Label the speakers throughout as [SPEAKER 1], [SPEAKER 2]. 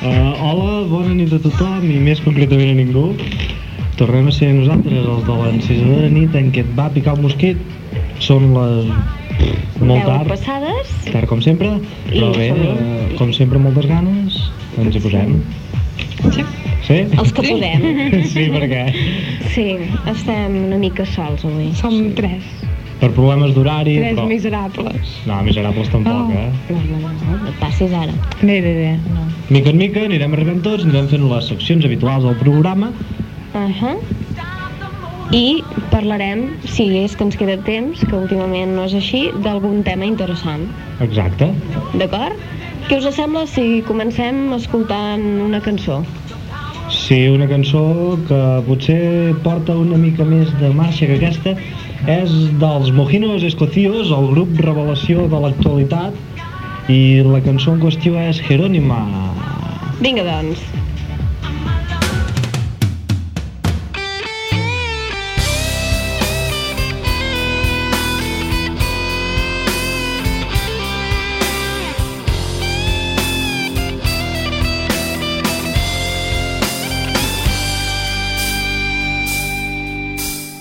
[SPEAKER 1] Uh, hola, bona nit a tothom i més concretament a ningú. Tornem a ser nosaltres, els de l'encesa de nit en què et va picar el mosquit. Són les... molt
[SPEAKER 2] Deu
[SPEAKER 1] tard,
[SPEAKER 2] passades.
[SPEAKER 1] tard com sempre, però
[SPEAKER 2] I
[SPEAKER 1] bé,
[SPEAKER 2] som-hi.
[SPEAKER 1] eh, com sempre moltes ganes, ens hi posem.
[SPEAKER 3] Sí.
[SPEAKER 1] Sí?
[SPEAKER 2] Els que podem.
[SPEAKER 1] Sí, perquè
[SPEAKER 2] Sí, estem una mica sols avui.
[SPEAKER 3] Som tres.
[SPEAKER 1] per problemes d'horari,
[SPEAKER 3] Tres
[SPEAKER 1] però...
[SPEAKER 3] miserables.
[SPEAKER 1] No, miserables tampoc,
[SPEAKER 3] Oh.
[SPEAKER 1] eh?
[SPEAKER 2] No, no, no, no, no et passis ara.
[SPEAKER 3] Bé, bé, bé. No.
[SPEAKER 1] Mica en mica anirem arribant tots, anirem fent les seccions habituals del programa.
[SPEAKER 2] Uh -huh. I parlarem, si és que ens queda temps, que últimament no és així, d'algun tema interessant.
[SPEAKER 1] Exacte.
[SPEAKER 2] D'acord? Què us sembla si comencem escoltant una cançó?
[SPEAKER 1] Sí, una cançó que potser porta una mica més de marxa que aquesta és dels Mojinos Escocios, el grup revelació de l'actualitat i la cançó en qüestió és Jerónima.
[SPEAKER 2] Vinga, doncs.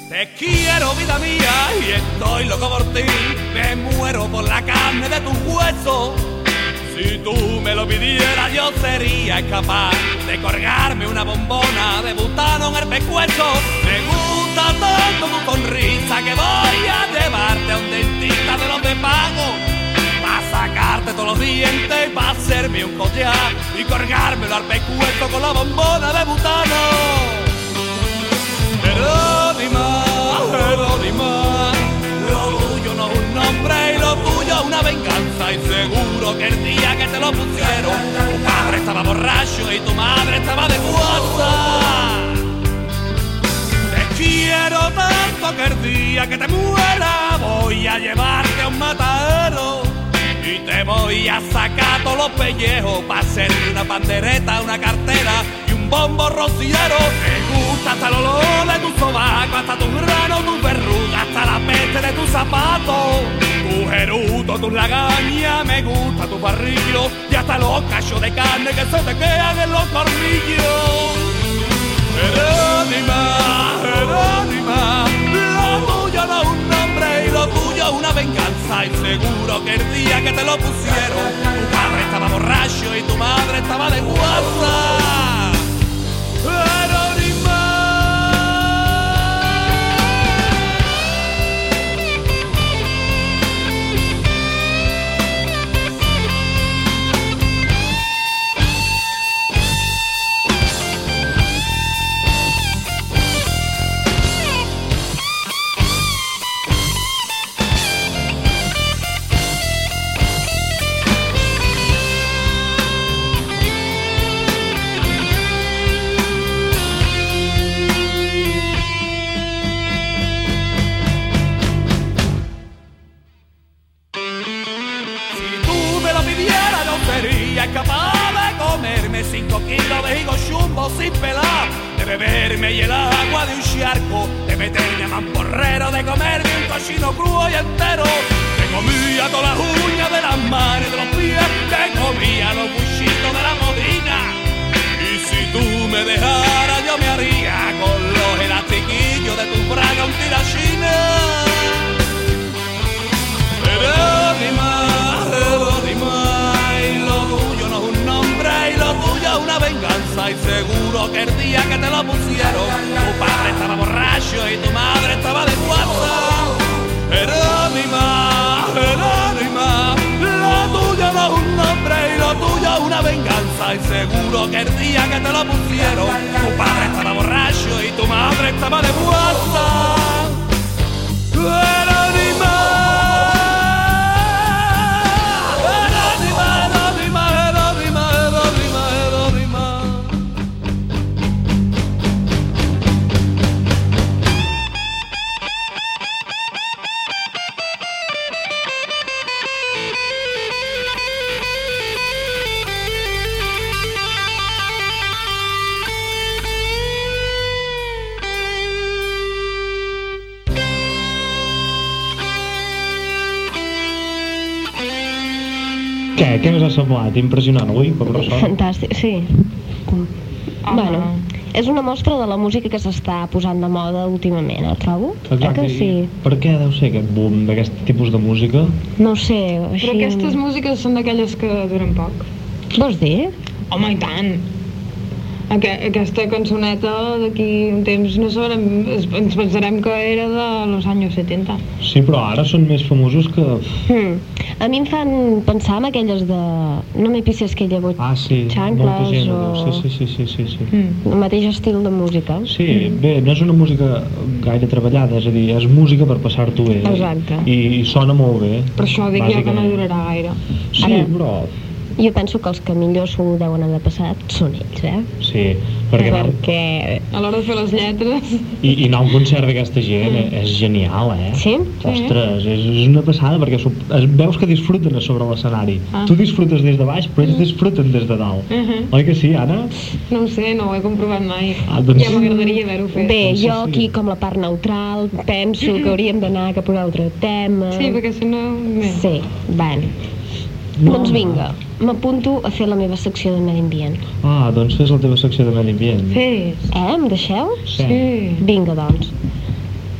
[SPEAKER 4] Te quiero, vida mía, y estoy loco por ti. Me muero por la carne de tus huesos. Si tú me lo pidieras, yo sería capaz de colgarme una bombona de butano en el pescuezo. Me gusta tanto tu sonrisa que voy a llevarte a un dentista de los de pago. Pa' sacarte todos los dientes y pa' hacerme un collar y colgármelo al pescuezo con la bombona de butano. Jerónima, Jerónima, lo tuyo no es un nombre y lo tuyo es una venganza. Y seguro que el día que te lo pusieron, tu padre estaba borracho y tu madre estaba de guasa. Te quiero tanto que el día que te muera voy a llevarte a un matadero y te voy a sacar todos los pellejos para hacerle una pandereta, una cartera y un bombo rociero. Te gusta hasta el olor de tu sobaco, hasta tu grano, tu verruga, hasta la peste de tus zapatos. Tu geruto, tu lagaña, me gusta tu barrillo y hasta los cachos de carne que se te quedan en los tornillos. Jerónima, Jerónima, lo tuyo no es un nombre y lo tuyo es una venganza. Y seguro que el día que te lo pusieron, tu padre estaba borracho y tu madre estaba de guasa. Jerónima. Si tú me lo pidieras, yo sería capaz de comerme cinco kilos de higo chumbo sin pelar, de beberme y el agua de un charco, de meterme a mamporrero, de comerme un cochino crudo y entero. Te comía todas las uñas de las manos y de los pies, te comía los buchitos de la modina. Y si tú me dejaras, yo me haría con los elastiquillos de tu braga un tirachina. Jerónima, Jerónima, y lo tuyo no es un nombre y lo tuyo es una venganza. Y seguro que el día que te lo pusieron, tu padre estaba borracho y tu madre estaba de guasa. Jerónima, Jerónima, lo tuyo no es un nombre y lo tuyo es una venganza. Y seguro que el día que te lo pusieron, tu padre estaba borracho y tu madre estaba de guasa. Jerónima, Jerónima, Jerónima, Jerónima, Jerónima, Jerónima.
[SPEAKER 1] Què? Què us ha semblat? Impressionant, oi? Com ressona?
[SPEAKER 2] Fantàstic, sí.
[SPEAKER 3] Ah.
[SPEAKER 2] Bueno, és una mostra de la música que s'està posant de moda últimament, eh, trobo? Eh que
[SPEAKER 1] i
[SPEAKER 2] sí?
[SPEAKER 1] Per què deu ser aquest boom d'aquest tipus de música?
[SPEAKER 2] No ho sé, així...
[SPEAKER 3] Però aquestes músiques són d'aquelles que duren poc.
[SPEAKER 2] Vols dir?
[SPEAKER 3] Home, i tant! Aqu aquesta cançoneta d'aquí un temps no sabrem, es- ens pensarem que era de los años 70.
[SPEAKER 1] Sí, però ara són més famosos que...
[SPEAKER 2] Hmm. A mi em fan pensar en aquelles de... No me pises que llevo...
[SPEAKER 1] Ah, sí, molta
[SPEAKER 2] Xancles
[SPEAKER 1] gent.
[SPEAKER 2] o-
[SPEAKER 1] ho diu. Sí, sí, sí, sí, sí. sí.
[SPEAKER 3] Mm.
[SPEAKER 2] El mateix estil de música.
[SPEAKER 1] Sí, bé, no és una música gaire treballada, és a dir, és música per passar-t'ho bé.
[SPEAKER 3] Exacte.
[SPEAKER 1] I, I sona molt bé.
[SPEAKER 3] Per això dic jo que no
[SPEAKER 1] bàsicament.
[SPEAKER 3] durarà gaire.
[SPEAKER 1] Sí,
[SPEAKER 2] Ara-
[SPEAKER 1] però...
[SPEAKER 2] Jo penso que els que millor s'ho deuen haver passat són ells, eh?
[SPEAKER 1] Sí, perquè... anar-
[SPEAKER 2] Perquè...
[SPEAKER 3] A l'hora de fer les lletres...
[SPEAKER 1] I, i anar a un concert d'aquesta gent
[SPEAKER 3] Mm.
[SPEAKER 1] és genial, eh?
[SPEAKER 2] Sí?
[SPEAKER 1] Ostres, és, és una passada perquè s'ho- es, veus que disfruten a sobre l'escenari.
[SPEAKER 3] Ah. Mm.
[SPEAKER 1] Tu disfrutes des de baix, però ells disfruten des de dalt.
[SPEAKER 3] Uh -huh.
[SPEAKER 1] Oi que sí, Anna?
[SPEAKER 3] No ho sé, no ho he comprovat mai.
[SPEAKER 1] Ah, doncs-
[SPEAKER 3] Ja m'agradaria haver-ho fet.
[SPEAKER 2] Bé,
[SPEAKER 1] Sí, sí,
[SPEAKER 2] jo
[SPEAKER 1] sí.
[SPEAKER 2] aquí com la part neutral penso que hauríem d'anar cap a un altre tema.
[SPEAKER 3] Sí, perquè si no... Bé.
[SPEAKER 2] Sí, bueno.
[SPEAKER 1] No.
[SPEAKER 2] Doncs vinga, m'apunto a fer la meva secció de medi ambient.
[SPEAKER 1] Ah, doncs fes la teva secció de medi ambient.
[SPEAKER 3] Fes.
[SPEAKER 2] Eh, em deixeu?
[SPEAKER 1] Sí.
[SPEAKER 3] Sí.
[SPEAKER 2] Vinga, doncs.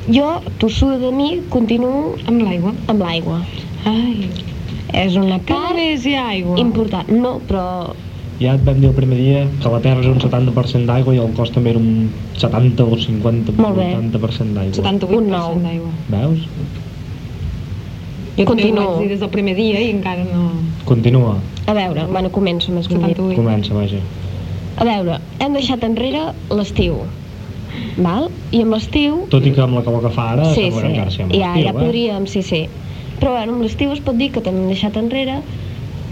[SPEAKER 2] Jo, tossuda de mi, continuo
[SPEAKER 3] Amb l'aigua.
[SPEAKER 2] amb l'aigua.
[SPEAKER 3] Ai.
[SPEAKER 2] És una
[SPEAKER 3] Cada
[SPEAKER 2] part
[SPEAKER 3] vegada hi ha aigua.
[SPEAKER 2] important. No, però
[SPEAKER 1] Ja et vam dir el primer dia que la Terra és un 70% d'aigua i el cos també era un 70 o 50 o
[SPEAKER 2] Molt bé.
[SPEAKER 1] 80% d'aigua.
[SPEAKER 3] 78%
[SPEAKER 2] Un nou.
[SPEAKER 3] d'aigua.
[SPEAKER 1] Veus?
[SPEAKER 3] Jo també ho
[SPEAKER 2] continuo.
[SPEAKER 3] vaig dir des del primer dia i encara no...
[SPEAKER 1] Continua.
[SPEAKER 2] A veure, bueno, començo més ben dit.
[SPEAKER 3] 78.
[SPEAKER 1] Comença, vaja.
[SPEAKER 2] A veure, hem deixat enrere l'estiu, val? I amb l'estiu
[SPEAKER 1] Tot i que amb la calor que fa ara,
[SPEAKER 2] sí,
[SPEAKER 1] sembla que encara
[SPEAKER 2] sí.
[SPEAKER 1] sembla
[SPEAKER 2] Ja,
[SPEAKER 1] estiu,
[SPEAKER 2] ja
[SPEAKER 1] eh?
[SPEAKER 2] podríem, sí, sí. Però bueno, amb l'estiu es pot dir que també hem deixat enrere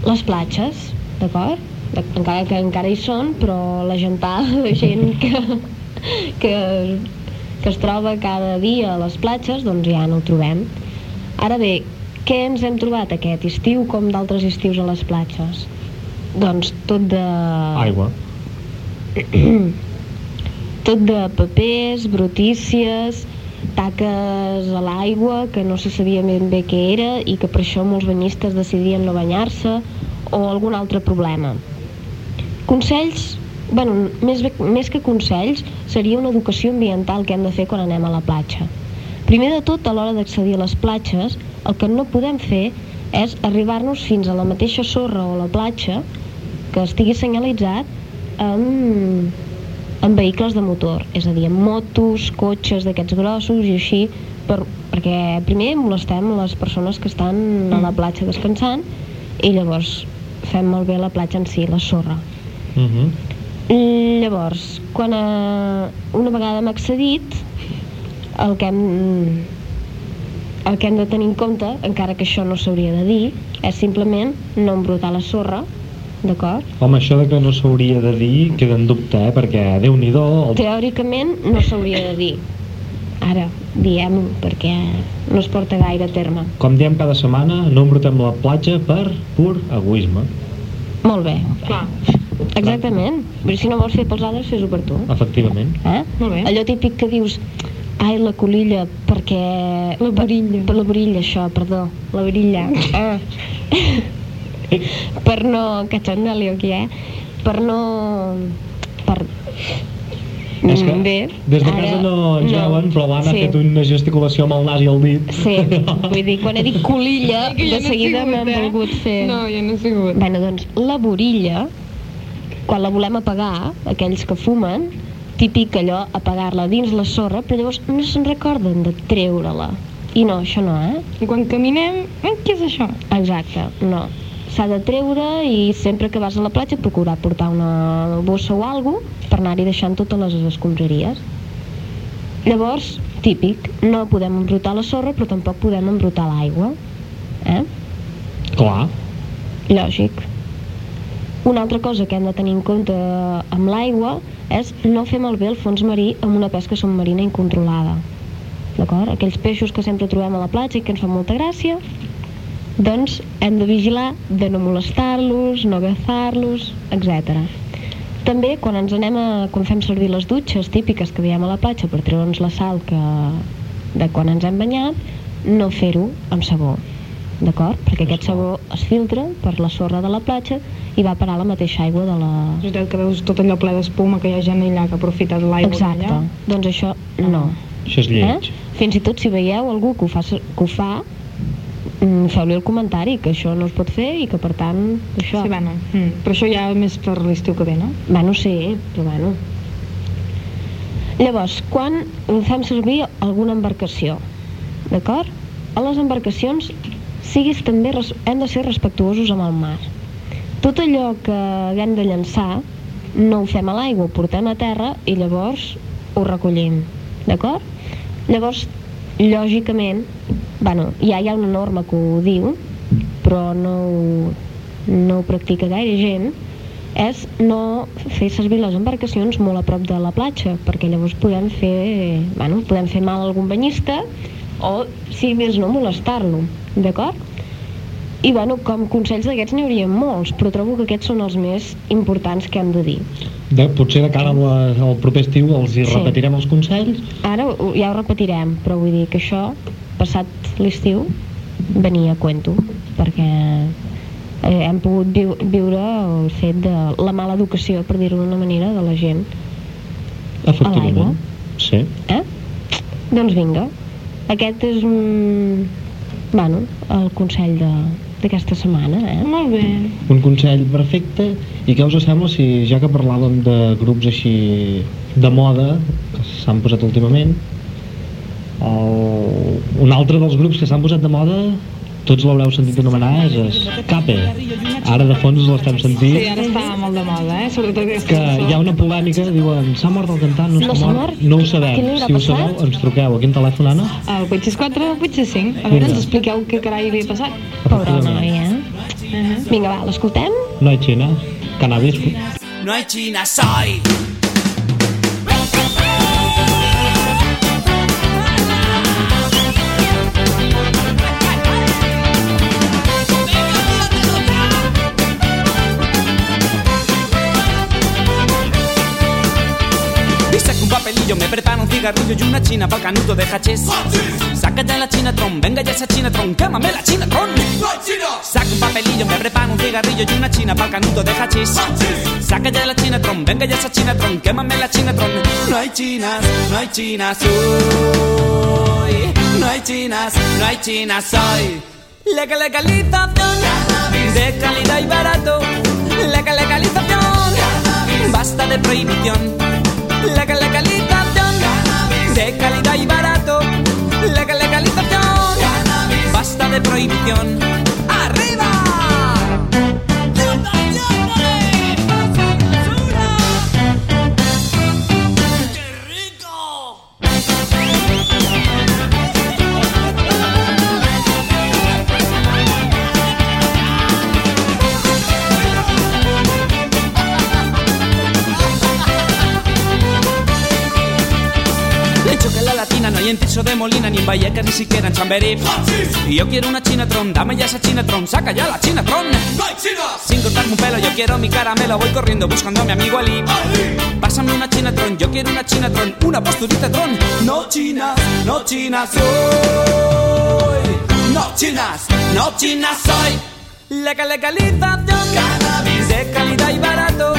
[SPEAKER 2] les platges, d'acord? De- Encara que encara hi són, però la gentada de gent que, que, que es troba cada dia a les platges, doncs ja no ho trobem. Ara bé, què ens hem trobat aquest estiu com d'altres estius a les platges? Doncs tot de...
[SPEAKER 1] Aigua.
[SPEAKER 2] tot de papers, brutícies, taques a l'aigua que no se sabia ben bé què era i que per això molts banyistes decidien no banyar-se o algun altre problema. Consells, bueno, més, bé- més que consells, seria una educació ambiental que hem de fer quan anem a la platja. Primer de tot, a l'hora d'accedir a les platges, el que no podem fer és arribar-nos fins a la mateixa sorra o la platja que estigui senyalitzat amb, amb vehicles de motor, és a dir, amb motos, cotxes d'aquests grossos i així, per, perquè primer molestem les persones que estan a la platja descansant i llavors fem malbé la platja en si, la sorra.
[SPEAKER 1] Mhm.
[SPEAKER 2] Llavors, quan eh, una vegada hem accedit, el que hem, el que hem de tenir en compte, encara que això no s'hauria de dir, és simplement no embrutar la sorra, d'acord?
[SPEAKER 1] Home, això de que no s'hauria de dir queda en dubte, eh? Perquè, déu nhi el...
[SPEAKER 2] Teòricament no s'hauria de dir. Ara, diem-ho, perquè no es porta gaire a terme.
[SPEAKER 1] com diem cada setmana, no embrutem la platja per pur egoisme.
[SPEAKER 2] Molt bé,
[SPEAKER 3] Clar,
[SPEAKER 2] exactament. Però si no vols fer pels altres, fes-ho per tu.
[SPEAKER 1] Efectivament.
[SPEAKER 2] Eh?
[SPEAKER 3] Molt bé.
[SPEAKER 2] Allò típic que dius, ai, la colilla, perquè...
[SPEAKER 3] La borilla.
[SPEAKER 2] Per, la borilla, això, perdó. La borilla. Ah. per no... Cachondalio aquí, eh? Per no... Per...
[SPEAKER 1] És que
[SPEAKER 2] Mm, Bé,
[SPEAKER 1] des de
[SPEAKER 2] ara-
[SPEAKER 1] casa no ens veuen, però l'Anna ha fet una gesticulació amb el nas i el dit.
[SPEAKER 2] Sí, vull dir, quan he dit colilla,
[SPEAKER 3] Que jo
[SPEAKER 2] de
[SPEAKER 3] no he
[SPEAKER 2] seguida
[SPEAKER 3] sigut,
[SPEAKER 2] m'han
[SPEAKER 3] eh?
[SPEAKER 2] volgut fer...
[SPEAKER 3] no, jo no he sigut.
[SPEAKER 2] Bueno, doncs la borilla, quan la volem apagar, aquells que fumen, típic allò, apagar-la dins la sorra, però llavors no se'n recorden de treure-la. I no, això no, eh?
[SPEAKER 3] I quan caminem, ai, què és això?
[SPEAKER 2] Exacte, no. S'ha de treure i sempre que vas a la platja procurar portar una bossa o alguna per anar-hi deixant totes les escombraries. Llavors, típic, no podem embrutar la sorra però tampoc podem embrutar l'aigua. Eh?
[SPEAKER 1] Clar.
[SPEAKER 2] Lògic. Una altra cosa que hem de tenir en compte eh, amb l'aigua és no fer malbé el fons marí amb una pesca submarina incontrolada. D'acord? Aquells peixos que sempre trobem a la platja i que ens fan molta gràcia, doncs hem de vigilar de no molestar-los, no agafar-los, etc. També quan ens anem a, quan fem servir les dutxes típiques que veiem a la platja per treure'ns la sal que, de quan ens hem banyat, no fer-ho amb sabó d'acord? Perquè aquest sabó es filtra per la sorra de la platja i va parar a la mateixa aigua de la...
[SPEAKER 3] És veritat que veus tot allò ple d'espuma que hi ha gent allà que ha aprofitat l'aigua
[SPEAKER 2] Exacte,
[SPEAKER 3] d'allà.
[SPEAKER 2] doncs això no.
[SPEAKER 1] Això és lleig.
[SPEAKER 2] Eh? Fins i tot si veieu algú que ho fa, que ho fa mm, feu-li el comentari que això no es pot fer i que per tant això...
[SPEAKER 3] Sí, bueno, mm. però això ja més per l'estiu que ve, no?
[SPEAKER 2] Bueno, sí, però bueno. Llavors, quan fem servir alguna embarcació, d'acord? A les embarcacions siguis també res- hem de ser respectuosos amb el mar. Tot allò que haguem de llançar no ho fem a l'aigua, ho portem a terra i llavors ho recollim, d'acord? Llavors, lògicament, bueno, ja hi ha una norma que ho diu, però no, ho- no ho practica gaire gent, és no fer servir les embarcacions molt a prop de la platja, perquè llavors podem fer, bueno, podem fer mal a algun banyista o, si més no, molestar-lo, d'acord? I, bueno, com consells d'aquests n'hi haurien molts, però trobo que aquests són els més importants que hem de dir.
[SPEAKER 1] De, potser de cara a la- al proper estiu els hi
[SPEAKER 2] Sí.
[SPEAKER 1] repetirem els consells.
[SPEAKER 2] Ara ho- ja ho repetirem, però vull dir que això, passat l'estiu, venia a cuento, perquè eh, hem pogut viu viure el fet de la mala educació, per dir-ho d'una manera, de la gent.
[SPEAKER 1] Efectivament.
[SPEAKER 2] l'aigua.
[SPEAKER 1] Sí.
[SPEAKER 2] Eh? Doncs vinga, aquest és un... Bueno, el consell de- d'aquesta setmana, eh?
[SPEAKER 3] Molt bé.
[SPEAKER 1] Un consell perfecte. I què us sembla si, ja que parlàvem de grups així de moda, que s'han posat últimament, el... un altre dels grups que s'han posat de moda, tots l'haureu sentit anomenar, és Escape. Ara de fons l'estem sentint.
[SPEAKER 3] Sí, ara està molt de moda, eh? Sobretot aquesta
[SPEAKER 1] que
[SPEAKER 3] cançó.
[SPEAKER 1] hi ha una polèmica, diuen, s'ha mort el cantant, no,
[SPEAKER 2] No
[SPEAKER 1] s'ha
[SPEAKER 2] s'ha
[SPEAKER 1] mort,
[SPEAKER 2] mort?
[SPEAKER 1] no ho
[SPEAKER 2] Què
[SPEAKER 1] sabem.
[SPEAKER 2] li haurà
[SPEAKER 1] Si ho
[SPEAKER 2] passat?
[SPEAKER 1] sabeu, ens truqueu. A quin telèfon, Anna?
[SPEAKER 3] El 864 o el 865? A veure,
[SPEAKER 1] Vinga.
[SPEAKER 3] ens expliqueu què carai havia passat.
[SPEAKER 2] Pobre
[SPEAKER 1] Efectivament.
[SPEAKER 2] noi, eh?
[SPEAKER 3] Uh -huh.
[SPEAKER 2] Vinga, va, l'escoltem?
[SPEAKER 1] No hay Xina, cannabis.
[SPEAKER 4] No hay China, soy.
[SPEAKER 5] Dice que un papelillo me prepara un cigarrillo y una china pa'l canuto de hachís. Saca ya la china tron, venga ya esa china tron, quémame la china tron. Saca un papelillo, me prepara un cigarrillo y una china pa'l canuto de hachís. Saca ya la china tron, venga ya esa china tron, quémame la china tron. No hay chinas, no hay chinas hoy. No hay chinas, no hay chinas hoy. Leca legalización de calidad y barato. Leca legalización, basta de prohibición. Leca legalización de calidad y barato. Leca legalización, basta de prohibición. ¡Arriba! Le choca la latina, no hay en Tirso de Molina, ni en Vallecas, ni siquiera en Chamberí. Y yo quiero una Chinatron, dame ya esa Chinatron, saca ya la Chinatron. Sin cortarme un pelo, yo quiero mi caramelo, voy corriendo buscando a mi amigo Ali. Pásame una Chinatron, yo quiero una Chinatron, una posturita tron. No chinas, no chinas soy. No chinas, no chinas soy. Leca legalización, cannabis de calidad y barato.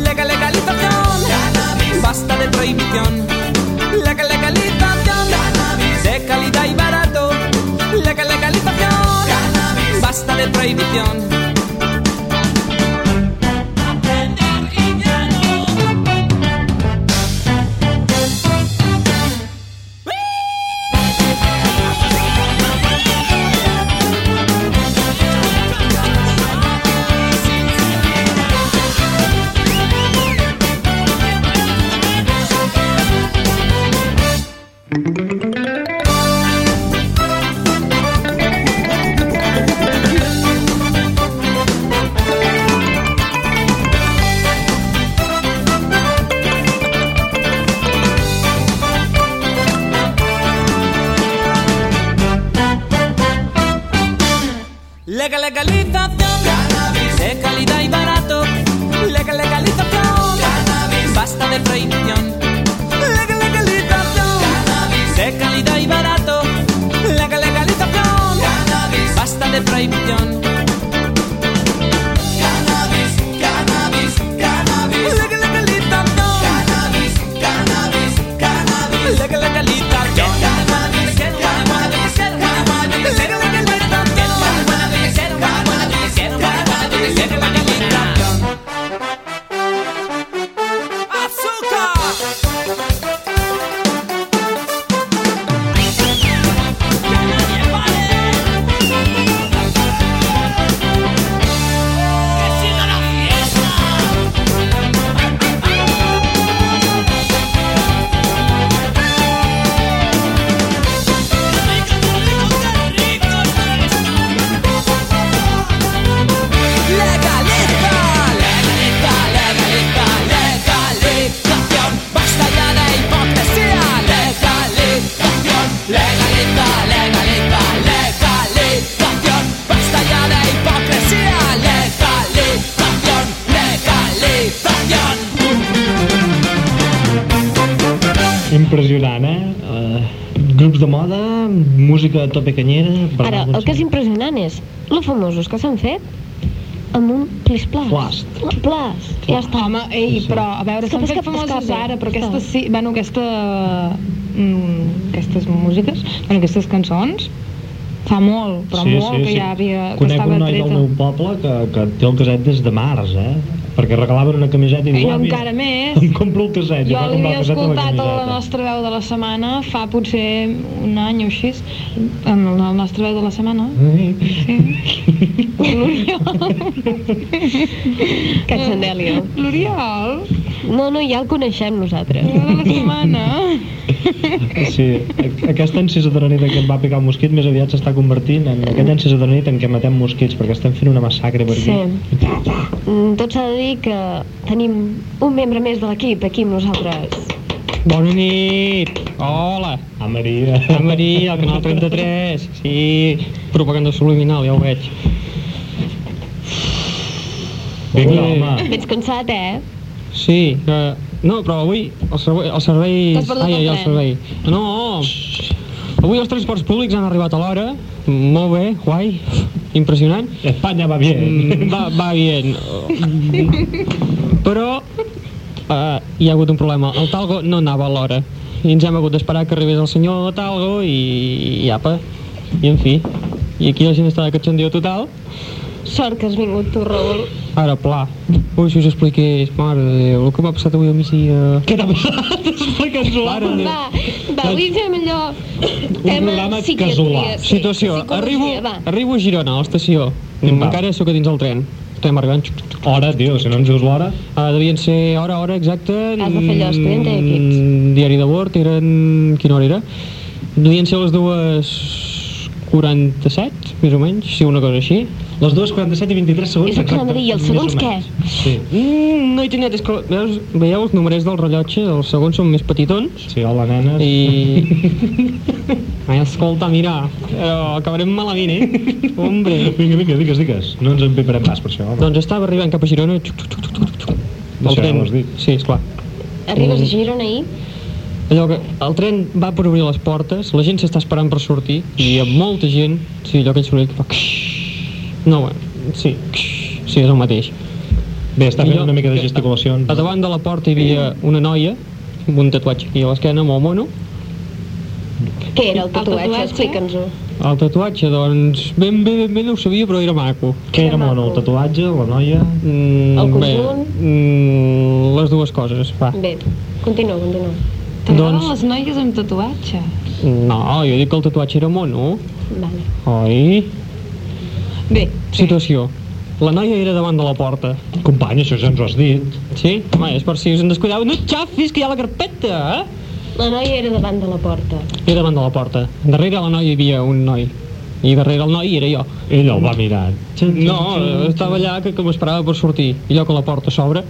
[SPEAKER 5] Leca legalización, cannabis, basta de prohibición. Leca legalización, cannabis de calidad y barato. Leca legalización, cannabis, basta de prohibición. Legal legalización, cannabis de calidad y barato. Legal legalización, cannabis basta de prohibición. Legal legalización, cannabis de calidad y barato. Legal legalización, cannabis basta de y millón. Cannabis, cannabis, cannabis. La que la calita no. Cannabis, cannabis, cannabis. La que la calita no. Cannabis, cannabis, cannabis. La que la calita no. Cannabis, cannabis, cannabis. La que la calita no. Azúcar.
[SPEAKER 1] Impressionant, eh? Uh, grups de moda, música a tope canyera... per
[SPEAKER 2] Ara,
[SPEAKER 1] anar a
[SPEAKER 2] el que és
[SPEAKER 1] concert.
[SPEAKER 2] impressionant és lo famosos que s'han fet amb un plis-plas.
[SPEAKER 1] Plast.
[SPEAKER 2] Plas, ja està.
[SPEAKER 3] Home, ei,
[SPEAKER 1] Sí, sí.
[SPEAKER 3] però, a veure, s'han
[SPEAKER 2] Escapa,
[SPEAKER 3] fet
[SPEAKER 2] escapa,
[SPEAKER 3] famoses
[SPEAKER 2] escapa.
[SPEAKER 3] ara, però
[SPEAKER 2] Està.
[SPEAKER 3] aquestes sí, bueno, aquesta... Mm, aquestes músiques, bueno, aquestes cançons, fa molt, però molt que ja havia... que
[SPEAKER 1] Conec
[SPEAKER 3] estava
[SPEAKER 1] un noi del
[SPEAKER 3] treta.
[SPEAKER 1] meu poble que, que té el caset des de març, eh? Perquè regalaven una camiseta i diu,
[SPEAKER 3] Jo
[SPEAKER 1] "Àvia,
[SPEAKER 3] encara més.
[SPEAKER 1] Em compro el caset. i
[SPEAKER 3] Jo
[SPEAKER 1] va comprar el
[SPEAKER 3] l'havia
[SPEAKER 1] caset amb
[SPEAKER 3] escoltat a la
[SPEAKER 1] camiseta.
[SPEAKER 3] nostra veu de la setmana fa potser un any o així, en la nostra veu de la setmana.
[SPEAKER 1] Eh?
[SPEAKER 2] Catxandèlia.
[SPEAKER 3] L'Oriol,
[SPEAKER 2] No, no, ja el coneixem nosaltres.
[SPEAKER 3] veu de la setmana.
[SPEAKER 1] Sí, a- aquesta encesa de la nit en què em va picar el mosquit més aviat s'està convertint en aquella encesa de la nit en què matem mosquits perquè estem fent una massacre per
[SPEAKER 2] Sí.
[SPEAKER 1] aquí.
[SPEAKER 2] Mm, Tot s'ha de dir que tenim un membre més de l'equip aquí amb nosaltres.
[SPEAKER 6] Bona nit! Hola!
[SPEAKER 1] A Maria.
[SPEAKER 6] A Maria, al canal 33. Sí, propaganda subliminal, ja ho veig.
[SPEAKER 1] Vinga,
[SPEAKER 6] Ui.
[SPEAKER 1] home.
[SPEAKER 2] Ets cansat, eh?
[SPEAKER 6] Sí, que... No, però avui el servei... El servei...
[SPEAKER 3] T'has perdut el
[SPEAKER 6] el
[SPEAKER 3] tren.
[SPEAKER 6] servei. No! Avui els transports públics han arribat a l'hora. Molt bé, guai, impressionant.
[SPEAKER 1] Espanya va bien.
[SPEAKER 6] Mm, va, va bien. Però eh, hi ha hagut un problema. El Talgo no anava a l'hora. I ens hem hagut d'esperar que arribés el senyor Talgo i, i apa. I en fi. I aquí la gent està de catxandeo total.
[SPEAKER 2] Sort que has vingut tu, Raül.
[SPEAKER 6] Ara, pla. Ui, si us expliqués, mare de Déu, el que m'ha passat avui al migdia.
[SPEAKER 1] Què t'ha passat? Explica'ns-ho.
[SPEAKER 6] eh? Mare de Déu.
[SPEAKER 2] Va, va, avui fem allò...
[SPEAKER 1] programa
[SPEAKER 2] psiquiatria,
[SPEAKER 1] casolà.
[SPEAKER 2] sí,
[SPEAKER 6] Situació.
[SPEAKER 2] psicologia,
[SPEAKER 6] Arribo,
[SPEAKER 2] va.
[SPEAKER 6] arribo a Girona, a l'estació.
[SPEAKER 1] Em va.
[SPEAKER 6] Encara sóc a dins del tren. Estem arribant.
[SPEAKER 1] Hora, tio, si no ens dius l'hora.
[SPEAKER 6] Uh, devien ser hora, hora exacta...
[SPEAKER 2] Has de fer allò, expediente de equips.
[SPEAKER 6] mm, Diari de bord, eren... Quina hora era? Devien ser les dues... 47, més o menys, si una cosa així.
[SPEAKER 1] Les 2, 47 i 23 segons.
[SPEAKER 2] És el que anava a dir, i els
[SPEAKER 1] exacte,
[SPEAKER 2] segons
[SPEAKER 1] més o menys. Sí.
[SPEAKER 6] Mm, no he tingut... És que, veus, veieu els numerets del rellotge? Els segons són més petitons.
[SPEAKER 1] Sí, hola, nenes.
[SPEAKER 6] I... Ai, escolta, mira, però acabarem malament, eh? Hombre.
[SPEAKER 1] Vinga, vinga, digues, digues. No ens empiparem pas per això, home.
[SPEAKER 6] Doncs estava arribant cap a Girona... Xuc, xuc, xuc, xuc, xuc, xuc.
[SPEAKER 1] Això ja ho has dit.
[SPEAKER 6] Sí, esclar.
[SPEAKER 2] Arribes a Girona ahir?
[SPEAKER 6] Allò que el tren va per obrir les portes, la gent s'està esperant per sortir, i hi ha molta gent, sí, allò que ell soroll que fa... No, bueno, sí, sí, és el mateix.
[SPEAKER 1] Bé, està fent
[SPEAKER 6] Jo-
[SPEAKER 1] una mica de gesticulacions.
[SPEAKER 6] A davant de la porta hi havia una noia, amb un tatuatge aquí a l'esquena, molt mono.
[SPEAKER 2] Què era el tatuatge?
[SPEAKER 3] tatuatge?
[SPEAKER 2] Explica'ns-ho.
[SPEAKER 6] El tatuatge, doncs, ben bé, ben bé no ho sabia, però era maco.
[SPEAKER 1] Què era mono? El tatuatge, la noia...
[SPEAKER 6] Mm,
[SPEAKER 2] El
[SPEAKER 6] bé,
[SPEAKER 2] conjunt?
[SPEAKER 6] mm, les dues coses, va.
[SPEAKER 2] Bé, continua, continua.
[SPEAKER 3] T'agraden
[SPEAKER 6] Doncs-
[SPEAKER 3] les noies amb tatuatge?
[SPEAKER 2] Mm.
[SPEAKER 6] No, jo dic que el tatuatge era mono,
[SPEAKER 2] Vale.
[SPEAKER 6] oi?
[SPEAKER 3] Bé,
[SPEAKER 6] Situació. La noia era davant de la porta.
[SPEAKER 1] Company, això ja ens ho has dit.
[SPEAKER 6] Sí? Home, és per si us en descuideu. No et xafis, que hi ha la carpeta, eh?
[SPEAKER 2] La noia era davant de la porta.
[SPEAKER 6] Era davant de la porta. Darrere la noia hi havia un noi. I darrere el noi era jo.
[SPEAKER 1] Ell el va mirar.
[SPEAKER 6] No, estava allà que, que m'esperava per sortir. I allò que la porta s'obre...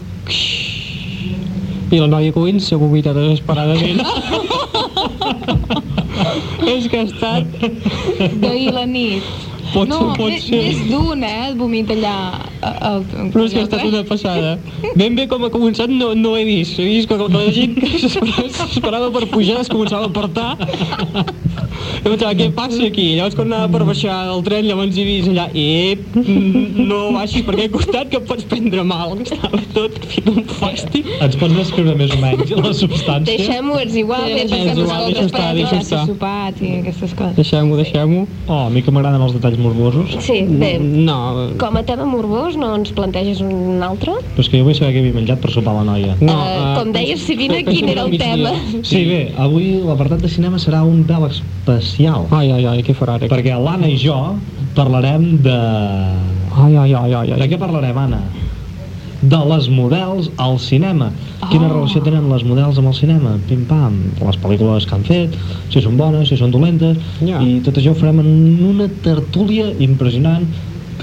[SPEAKER 6] I la noia comença a vomitar desesperadament. és que ha estat...
[SPEAKER 3] d'ahir la nit.
[SPEAKER 6] Pot
[SPEAKER 3] no,
[SPEAKER 6] ser, pot
[SPEAKER 3] més,
[SPEAKER 6] ser.
[SPEAKER 3] més d'un, eh, et vomita allà. eh, a- al-
[SPEAKER 6] Però és que ha estat una passada. Ben bé com ha començat no, no ho he vist. He vist que la gent que s'esperava s'esperava per pujar es començava a apartar. Jo pensava, què passa aquí? Llavors quan anava per baixar del tren, llavors hi he vist allà, ep, mm, no baixis per aquest costat que et pots prendre mal, que estava tot fet un plàstic.
[SPEAKER 1] Ens pots descriure més o menys la substància?
[SPEAKER 2] Deixem-ho, és igual,
[SPEAKER 3] Sí,
[SPEAKER 2] és
[SPEAKER 3] això
[SPEAKER 6] és
[SPEAKER 3] que
[SPEAKER 2] que
[SPEAKER 6] igual,
[SPEAKER 2] nosaltres
[SPEAKER 6] deixa estar,
[SPEAKER 2] parem
[SPEAKER 6] deixa
[SPEAKER 2] de-
[SPEAKER 3] Deixar-se
[SPEAKER 6] estar.
[SPEAKER 3] sopat i aquestes coses.
[SPEAKER 6] Deixem-ho, deixem-ho.
[SPEAKER 1] Oh, a mi que m'agraden els detalls morbosos.
[SPEAKER 2] Sí, bé,
[SPEAKER 6] No,
[SPEAKER 2] com a tema morbós no ens planteges un altre?
[SPEAKER 1] Però és que jo vull saber què havia menjat per sopar la noia.
[SPEAKER 6] no.
[SPEAKER 2] Eh,
[SPEAKER 6] eh,
[SPEAKER 2] com deies, Sirina,
[SPEAKER 6] penso
[SPEAKER 2] quin
[SPEAKER 6] que
[SPEAKER 2] era el
[SPEAKER 6] migdia.
[SPEAKER 2] tema?
[SPEAKER 1] Sí, bé, avui l'apartat de cinema serà un pèl especial.
[SPEAKER 6] Ai, ai, ai, què farà ara?
[SPEAKER 1] Perquè l'Anna i jo parlarem de...
[SPEAKER 6] Ai, ai, ai, ai,
[SPEAKER 1] De
[SPEAKER 6] ai.
[SPEAKER 1] què parlarem, Anna? De les models al cinema.
[SPEAKER 6] Ah.
[SPEAKER 1] Quina relació tenen les models amb el cinema? Pim-pam, les pel·lícules que han fet, si són bones, si són dolentes...
[SPEAKER 6] Ja.
[SPEAKER 1] I tot això ho farem en una tertúlia impressionant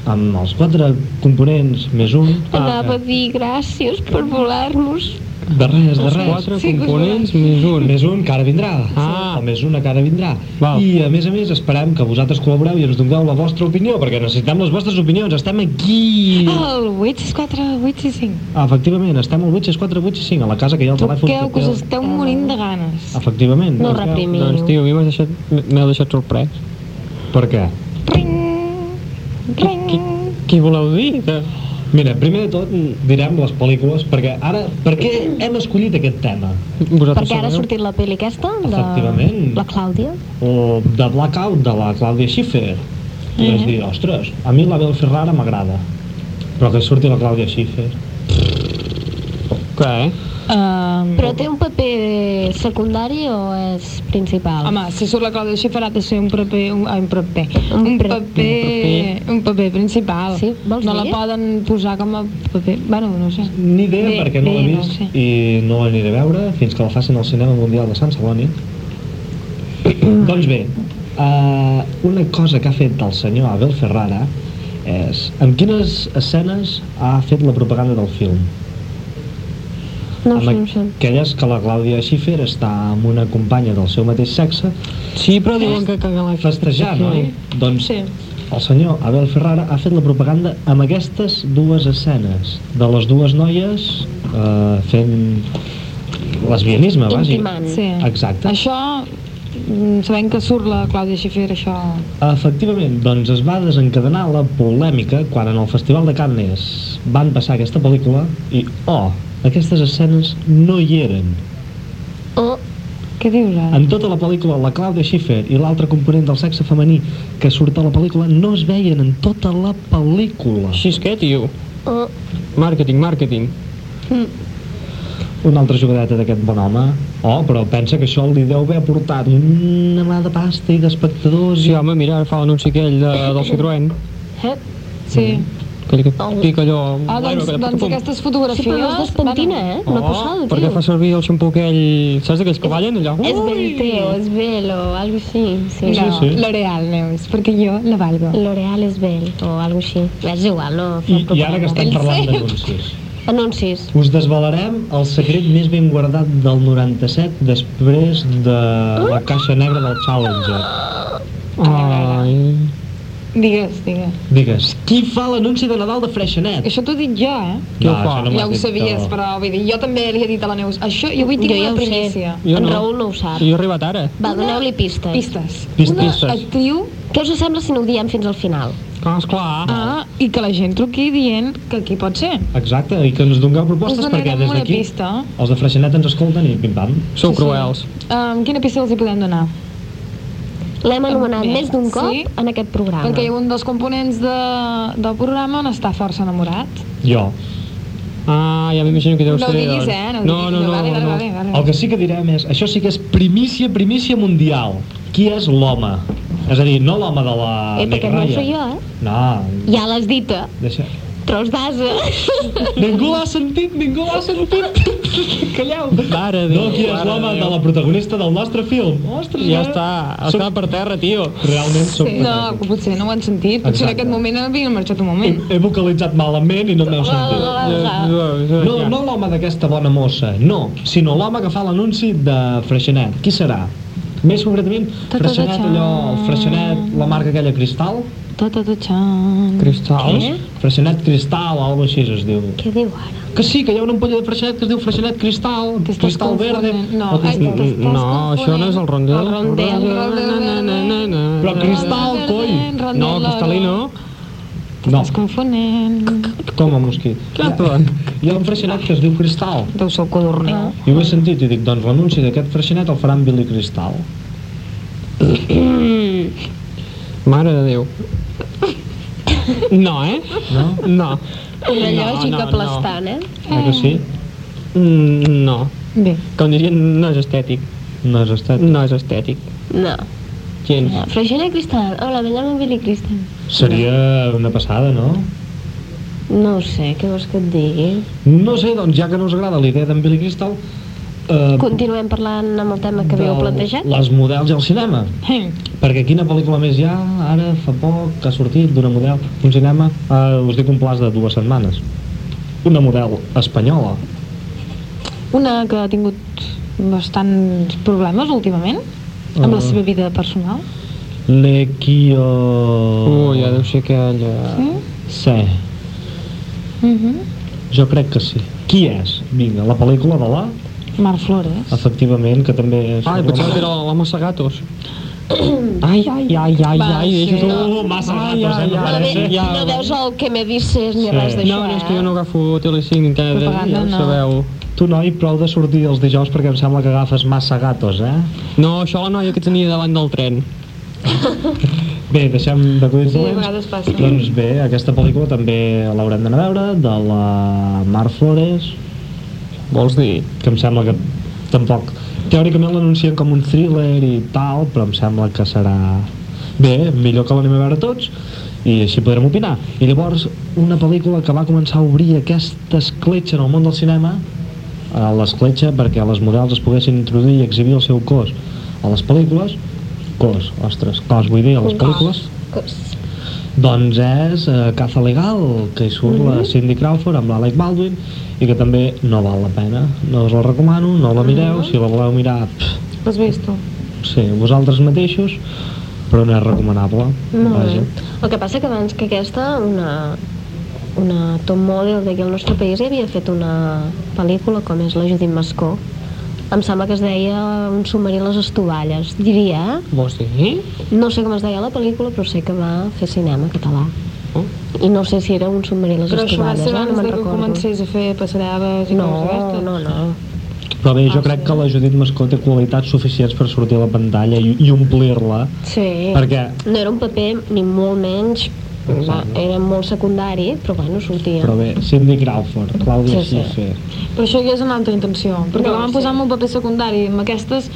[SPEAKER 1] amb els quatre components més un.
[SPEAKER 2] Anava a dir gràcies per volar-nos.
[SPEAKER 1] De res, de
[SPEAKER 6] Els
[SPEAKER 1] res.
[SPEAKER 6] quatre
[SPEAKER 3] Sí, que us
[SPEAKER 6] components més un.
[SPEAKER 1] Més un que ara vindrà.
[SPEAKER 6] Ah.
[SPEAKER 1] El més una que ara vindrà.
[SPEAKER 6] Val.
[SPEAKER 1] I a més a més esperem que vosaltres col·laboreu i ens dongueu la vostra opinió, perquè necessitem les vostres opinions. Estem aquí!
[SPEAKER 3] Oh, El 8 és 4, 8 és 5.
[SPEAKER 1] Efectivament, estem al 86485, a la casa que hi ha el telèfon.
[SPEAKER 3] Truqueu, que us esteu morint de ganes.
[SPEAKER 1] Efectivament.
[SPEAKER 2] No
[SPEAKER 1] truqueu.
[SPEAKER 2] reprimi.
[SPEAKER 6] Doncs, tio, a mi m'has deixat- m'heu deixat sorprès.
[SPEAKER 1] Per què?
[SPEAKER 3] Ring, ring.
[SPEAKER 6] Què voleu dir? Que...
[SPEAKER 1] Mira, primer de tot direm les pel·lícules, perquè ara, per què hem escollit aquest tema?
[SPEAKER 6] Vosaltres
[SPEAKER 2] Perquè ara ha
[SPEAKER 6] sabeu?
[SPEAKER 2] sortit la pel·li aquesta de
[SPEAKER 1] Efectivament.
[SPEAKER 2] la Clàudia.
[SPEAKER 1] O de Blackout, de la Claudia Schiffer. I
[SPEAKER 2] Mhm.
[SPEAKER 1] vaig dir, ostres, a mi la Bel Ferrara m'agrada, però que surti la Claudia Schiffer.
[SPEAKER 6] Què?
[SPEAKER 3] Um,
[SPEAKER 2] Però té un paper secundari o és principal?
[SPEAKER 3] Home, si surt la Clàudia Schiffer ha de ser un paper... Un, ai, un paper...
[SPEAKER 2] Un
[SPEAKER 3] Un
[SPEAKER 2] pre-
[SPEAKER 3] paper... Un paper principal.
[SPEAKER 2] Sí, vols
[SPEAKER 3] no la
[SPEAKER 2] dir?
[SPEAKER 3] poden posar com a paper... Bueno, no sé.
[SPEAKER 1] Ni idea,
[SPEAKER 3] Bé,
[SPEAKER 1] perquè no l'he
[SPEAKER 3] bé, no
[SPEAKER 1] vist
[SPEAKER 3] ho sé.
[SPEAKER 1] i no l'aniré a veure fins que la facin al Cinema Mundial de Sant Celoni.
[SPEAKER 2] Mm.
[SPEAKER 1] doncs bé, uh, una cosa que ha fet el senyor Abel Ferrara és amb quines escenes ha fet la propaganda del film?
[SPEAKER 2] no ho
[SPEAKER 1] amb
[SPEAKER 2] sé, no ho sé.
[SPEAKER 1] aquelles que la Clàudia Schiffer està amb una companya del seu mateix sexe
[SPEAKER 6] Sí, però diuen que caga la
[SPEAKER 1] festejant, oi? Doncs
[SPEAKER 3] Sí.
[SPEAKER 1] el senyor Abel Ferrara ha fet la propaganda amb aquestes dues escenes de les dues noies eh, fent lesbianisme,
[SPEAKER 2] Intimant.
[SPEAKER 3] Sí.
[SPEAKER 1] Exacte.
[SPEAKER 3] Això, mm, sabent que surt la Clàudia Schiffer, això...
[SPEAKER 1] Efectivament, doncs es va desencadenar la polèmica quan en el Festival de Cannes van passar aquesta pel·lícula i, oh, aquestes escenes no hi eren.
[SPEAKER 2] O
[SPEAKER 3] Què dius ara?
[SPEAKER 1] En tota la pel·lícula, la Claudia Schiffer i l'altre component del sexe femení que surt a la pel·lícula no es veien en tota la pel·lícula.
[SPEAKER 6] Així és que, tio.
[SPEAKER 2] Oh.
[SPEAKER 6] Màrqueting, màrqueting.
[SPEAKER 1] Una altra jugadeta d'aquest bon home. Oh, però pensa que això li deu haver portat una mà de pasta i d'espectadors.
[SPEAKER 6] Sí,
[SPEAKER 1] i-
[SPEAKER 6] home, mira, ara fa l'anunci aquell de, del Citroën.
[SPEAKER 2] eh?
[SPEAKER 3] Sí.
[SPEAKER 6] Aquell que pica allò...
[SPEAKER 3] Ah,
[SPEAKER 6] bueno,
[SPEAKER 3] doncs,
[SPEAKER 6] que de
[SPEAKER 3] doncs
[SPEAKER 6] pum.
[SPEAKER 3] aquestes
[SPEAKER 2] Sí, però no es
[SPEAKER 3] fotografies...
[SPEAKER 2] despentina, eh? Una
[SPEAKER 6] Oh,
[SPEAKER 2] posada,
[SPEAKER 6] perquè
[SPEAKER 2] tio.
[SPEAKER 6] fa servir el xampú aquell... Saps aquells que ballen allò?
[SPEAKER 2] És
[SPEAKER 6] Ui!
[SPEAKER 2] Belteo, és Bel o algo així. Sí.
[SPEAKER 3] No,
[SPEAKER 1] sí.
[SPEAKER 3] L'Oreal, Neus, perquè jo la valgo.
[SPEAKER 2] L'Oreal és Bel o algo així. És igual, no?
[SPEAKER 1] I, i ara que estem
[SPEAKER 3] Ell
[SPEAKER 1] parlant
[SPEAKER 3] sempre.
[SPEAKER 1] d'anuncis.
[SPEAKER 2] Anuncis.
[SPEAKER 1] Us desvelarem el secret més ben guardat del 97 després de la caixa negra del Challenger.
[SPEAKER 6] Ai...
[SPEAKER 3] Digues, digues.
[SPEAKER 1] Digues, qui fa l'anunci de Nadal de Freixenet?
[SPEAKER 3] Això t'ho dic jo, eh?
[SPEAKER 6] Qui ho fa?
[SPEAKER 1] això m'ho
[SPEAKER 3] ja
[SPEAKER 1] has
[SPEAKER 3] ho
[SPEAKER 1] dit
[SPEAKER 3] sabies,
[SPEAKER 1] tu.
[SPEAKER 3] però vull dir, jo també li he dit a la Neus, això jo vull
[SPEAKER 2] Jo
[SPEAKER 3] tenir
[SPEAKER 2] ja
[SPEAKER 3] una
[SPEAKER 2] ho sé.
[SPEAKER 3] primícia.
[SPEAKER 6] Jo
[SPEAKER 2] En
[SPEAKER 6] no.
[SPEAKER 2] Raül no ho sap.
[SPEAKER 6] Jo he arribat ara.
[SPEAKER 2] Va, doneu-li pistes.
[SPEAKER 3] Pistes.
[SPEAKER 1] Pistes.
[SPEAKER 3] Una actriu
[SPEAKER 2] Què us sembla si no ho diem fins al final?
[SPEAKER 6] Ah, esclar.
[SPEAKER 3] ah, i que la gent truqui dient que qui pot ser.
[SPEAKER 1] Exacte, i que ens dongueu propostes
[SPEAKER 3] Us
[SPEAKER 1] perquè
[SPEAKER 3] donarem
[SPEAKER 1] des
[SPEAKER 3] una
[SPEAKER 1] d'aquí
[SPEAKER 3] pista.
[SPEAKER 1] els de Freixenet ens escolten i pim-pam.
[SPEAKER 6] Sou cruels.
[SPEAKER 3] Um, quina pista els hi podem donar?
[SPEAKER 2] L'hem anomenat
[SPEAKER 3] Bé,
[SPEAKER 2] més d'un cop
[SPEAKER 3] sí.
[SPEAKER 2] en aquest programa.
[SPEAKER 3] Perquè hi ha un dels components de, del programa on està força enamorat.
[SPEAKER 1] Jo.
[SPEAKER 6] Ah, ja m'imagino que deu
[SPEAKER 3] no
[SPEAKER 6] ser...
[SPEAKER 3] ho diguis,
[SPEAKER 6] doncs.
[SPEAKER 3] eh? No, ho
[SPEAKER 6] no,
[SPEAKER 3] diguis.
[SPEAKER 6] no, no,
[SPEAKER 3] vale, vale,
[SPEAKER 6] no.
[SPEAKER 3] Vale, vale.
[SPEAKER 1] El que sí que direm és, això sí que és primícia, primícia mundial. Qui és l'home? És a dir, no l'home de la
[SPEAKER 2] Eh,
[SPEAKER 1] Meg
[SPEAKER 2] perquè
[SPEAKER 1] Ryan.
[SPEAKER 2] no ho sé jo, eh?
[SPEAKER 1] No,
[SPEAKER 2] Ja l'has dit, eh?
[SPEAKER 1] deixa...
[SPEAKER 2] Tros d'asa.
[SPEAKER 1] Ningú l'ha sentit, ningú l'ha sentit! Calleu!
[SPEAKER 6] Mare de
[SPEAKER 1] No,
[SPEAKER 6] Déu,
[SPEAKER 1] qui és
[SPEAKER 6] mare
[SPEAKER 1] l'home
[SPEAKER 6] de
[SPEAKER 1] de
[SPEAKER 6] Déu.
[SPEAKER 1] la protagonista del nostre film? Ostres,
[SPEAKER 6] Ja
[SPEAKER 1] eh?
[SPEAKER 6] està, està per terra, tio.
[SPEAKER 1] Realment sóc...
[SPEAKER 3] Sí. No, que potser no ho han sentit. Potser en
[SPEAKER 1] Exacte.
[SPEAKER 3] aquest moment havien marxat un
[SPEAKER 1] He,
[SPEAKER 3] moment.
[SPEAKER 1] he vocalitzat malament i no m'heu sentit.
[SPEAKER 3] Ah,
[SPEAKER 1] No,
[SPEAKER 6] No,
[SPEAKER 1] no l'home d'aquesta bona mossa, no, sinó l'home que fa l'anunci de Freixenet. Qui serà? Més concretament, Freixenet, allò, el Freixenet, la marca aquella Cristal,
[SPEAKER 3] Tatatachan.
[SPEAKER 6] Cristals?
[SPEAKER 2] Què?
[SPEAKER 1] Freixenet Cristal, o alguna així es diu.
[SPEAKER 2] Què diu ara?
[SPEAKER 6] Que sí, que hi ha una ampolla de freixenet que es diu freixenet cristal,
[SPEAKER 3] T'estàs
[SPEAKER 6] cristal verde...
[SPEAKER 3] confonent. No,
[SPEAKER 6] O
[SPEAKER 3] ai,
[SPEAKER 6] cristal-
[SPEAKER 3] t'estàs
[SPEAKER 6] no, això no és el rondel.
[SPEAKER 3] El rondel.
[SPEAKER 6] Na, na, na, na, na.
[SPEAKER 1] Però cristal, coi!
[SPEAKER 3] Rondel,
[SPEAKER 6] No,
[SPEAKER 3] rondel.
[SPEAKER 6] cristalino.
[SPEAKER 1] No,
[SPEAKER 3] Estàs confonent.
[SPEAKER 1] com el mosquit. Hi ha un freixenet que es diu Cristal.
[SPEAKER 3] Deu ser el codornil.
[SPEAKER 1] I ho he sentit i dic, doncs l'anunci d'aquest freixenet el faran Billy Cristal.
[SPEAKER 6] Mare de Déu. No, eh?
[SPEAKER 1] No?
[SPEAKER 6] No.
[SPEAKER 2] Una
[SPEAKER 6] No,
[SPEAKER 2] lògica
[SPEAKER 6] no, no.
[SPEAKER 2] aplastant, eh?
[SPEAKER 1] Eh que sí?
[SPEAKER 6] Mm, No.
[SPEAKER 3] Bé,
[SPEAKER 6] Com dirien, no és estètic.
[SPEAKER 1] No has estat.
[SPEAKER 6] No és estètic.
[SPEAKER 2] No.
[SPEAKER 6] Gens.
[SPEAKER 2] Freixena Cristal. Hola, me llamo Billy Crystal.
[SPEAKER 1] Seria una passada, no?
[SPEAKER 2] No ho sé, què vols que et digui?
[SPEAKER 1] No sé, doncs ja que no us agrada la idea d'en Billy Crystal, eh,
[SPEAKER 2] Continuem parlant amb el tema que havíeu
[SPEAKER 1] del-
[SPEAKER 2] plantejat?
[SPEAKER 1] Les models i el cinema. Perquè quina pel·lícula més hi ha ara, fa poc, que ha sortit d'una model, un cinema, eh, us dic un plaç de dues setmanes. Una model espanyola.
[SPEAKER 3] una que ha tingut bastants problemes últimament amb la
[SPEAKER 1] Ah.
[SPEAKER 3] seva vida personal.
[SPEAKER 1] L'Equio... Oh.
[SPEAKER 6] Ui, ja deu ser aquella...
[SPEAKER 3] Sí?
[SPEAKER 1] Sí,
[SPEAKER 3] Mhm.
[SPEAKER 1] jo crec que sí. Qui és? Vinga, la pel·lícula de la...
[SPEAKER 3] Mar Flores.
[SPEAKER 1] Efectivament, que també... és-
[SPEAKER 6] Ai, pensava que era la massa gatos. Ai, ai, ai, ai,
[SPEAKER 3] Va,
[SPEAKER 6] ai,
[SPEAKER 3] sí.
[SPEAKER 6] deixa
[SPEAKER 1] Tu, massa gatos, eh, me
[SPEAKER 2] No,
[SPEAKER 1] parece.
[SPEAKER 2] ve, no veus el que me dices ni
[SPEAKER 1] Sí.
[SPEAKER 2] res d'això,
[SPEAKER 6] No, no, és que jo
[SPEAKER 2] eh?
[SPEAKER 6] no agafo Telecinc ni Tele3,
[SPEAKER 3] Propaganda,
[SPEAKER 6] ja ho
[SPEAKER 3] no.
[SPEAKER 6] sabeu.
[SPEAKER 1] Tu, noi, prou de sortir els dijous perquè em sembla que agafes massa gatos, eh?
[SPEAKER 6] No, això la noia que tenia davant del tren.
[SPEAKER 1] Bé, deixem de cuidar
[SPEAKER 3] Sí, a vegades passa.
[SPEAKER 1] Doncs bé, aquesta pel·lícula també l'haurem d'anar a veure, de la Mar Flores,
[SPEAKER 6] Vols dir?
[SPEAKER 1] que em sembla que tampoc... Teòricament l'anuncien com un thriller i tal, però em sembla que serà... Bé, millor que l'anem a veure tots i així podrem opinar. I llavors, una pel·lícula que va començar a obrir aquesta escletxa en el món del cinema, a l'escletxa perquè les models es poguessin introduir i exhibir el seu cos a les pel·lícules, cos, ostres, cos vull dir, a les pel·lícules, doncs és eh, Caza Legal, que hi surt
[SPEAKER 2] Mhm.
[SPEAKER 1] la Cindy Crawford amb l'Alec Baldwin i que també no val la pena. No us la recomano, no la mireu,
[SPEAKER 2] Mhm.
[SPEAKER 1] si la voleu mirar, pff,
[SPEAKER 3] L'has vist tu?
[SPEAKER 1] sí, vosaltres mateixos, però no és recomanable.
[SPEAKER 2] eh? Molt bé. El que passa que abans que aquesta, una, una top model d'aquí al nostre país ja havia fet una pel·lícula com és la Judit Mascó. Em sembla que es deia Un submarí a les estovalles, diria, eh?
[SPEAKER 6] Vols dir?
[SPEAKER 2] No sé com es deia la pel·lícula, però sé que va fer cinema català.
[SPEAKER 6] Oh.
[SPEAKER 2] I no sé si era Un submarí a les
[SPEAKER 3] Però això va
[SPEAKER 2] estovalles,
[SPEAKER 3] ser
[SPEAKER 2] eh? no
[SPEAKER 3] abans
[SPEAKER 2] me'n
[SPEAKER 3] de que
[SPEAKER 2] recordo.
[SPEAKER 3] comencés a fer passaraves i coses
[SPEAKER 2] No,
[SPEAKER 3] d'aquestes.
[SPEAKER 2] no, no.
[SPEAKER 1] Però bé, jo
[SPEAKER 2] Ah,
[SPEAKER 1] crec que la Judit Mascó té qualitats suficients per sortir a la pantalla i, i omplir-la,
[SPEAKER 2] Sí.
[SPEAKER 1] perquè
[SPEAKER 2] No era un paper ni molt menys, va, era molt secundari, però bueno, sortia.
[SPEAKER 1] però bé, Cindy Crawford, Clàudia
[SPEAKER 2] Sí, sí.
[SPEAKER 1] Schiffer,
[SPEAKER 3] Però això ja és una altra intenció, perquè no,
[SPEAKER 2] No,
[SPEAKER 3] la van
[SPEAKER 2] sí.
[SPEAKER 3] posar en un paper secundari, amb aquestes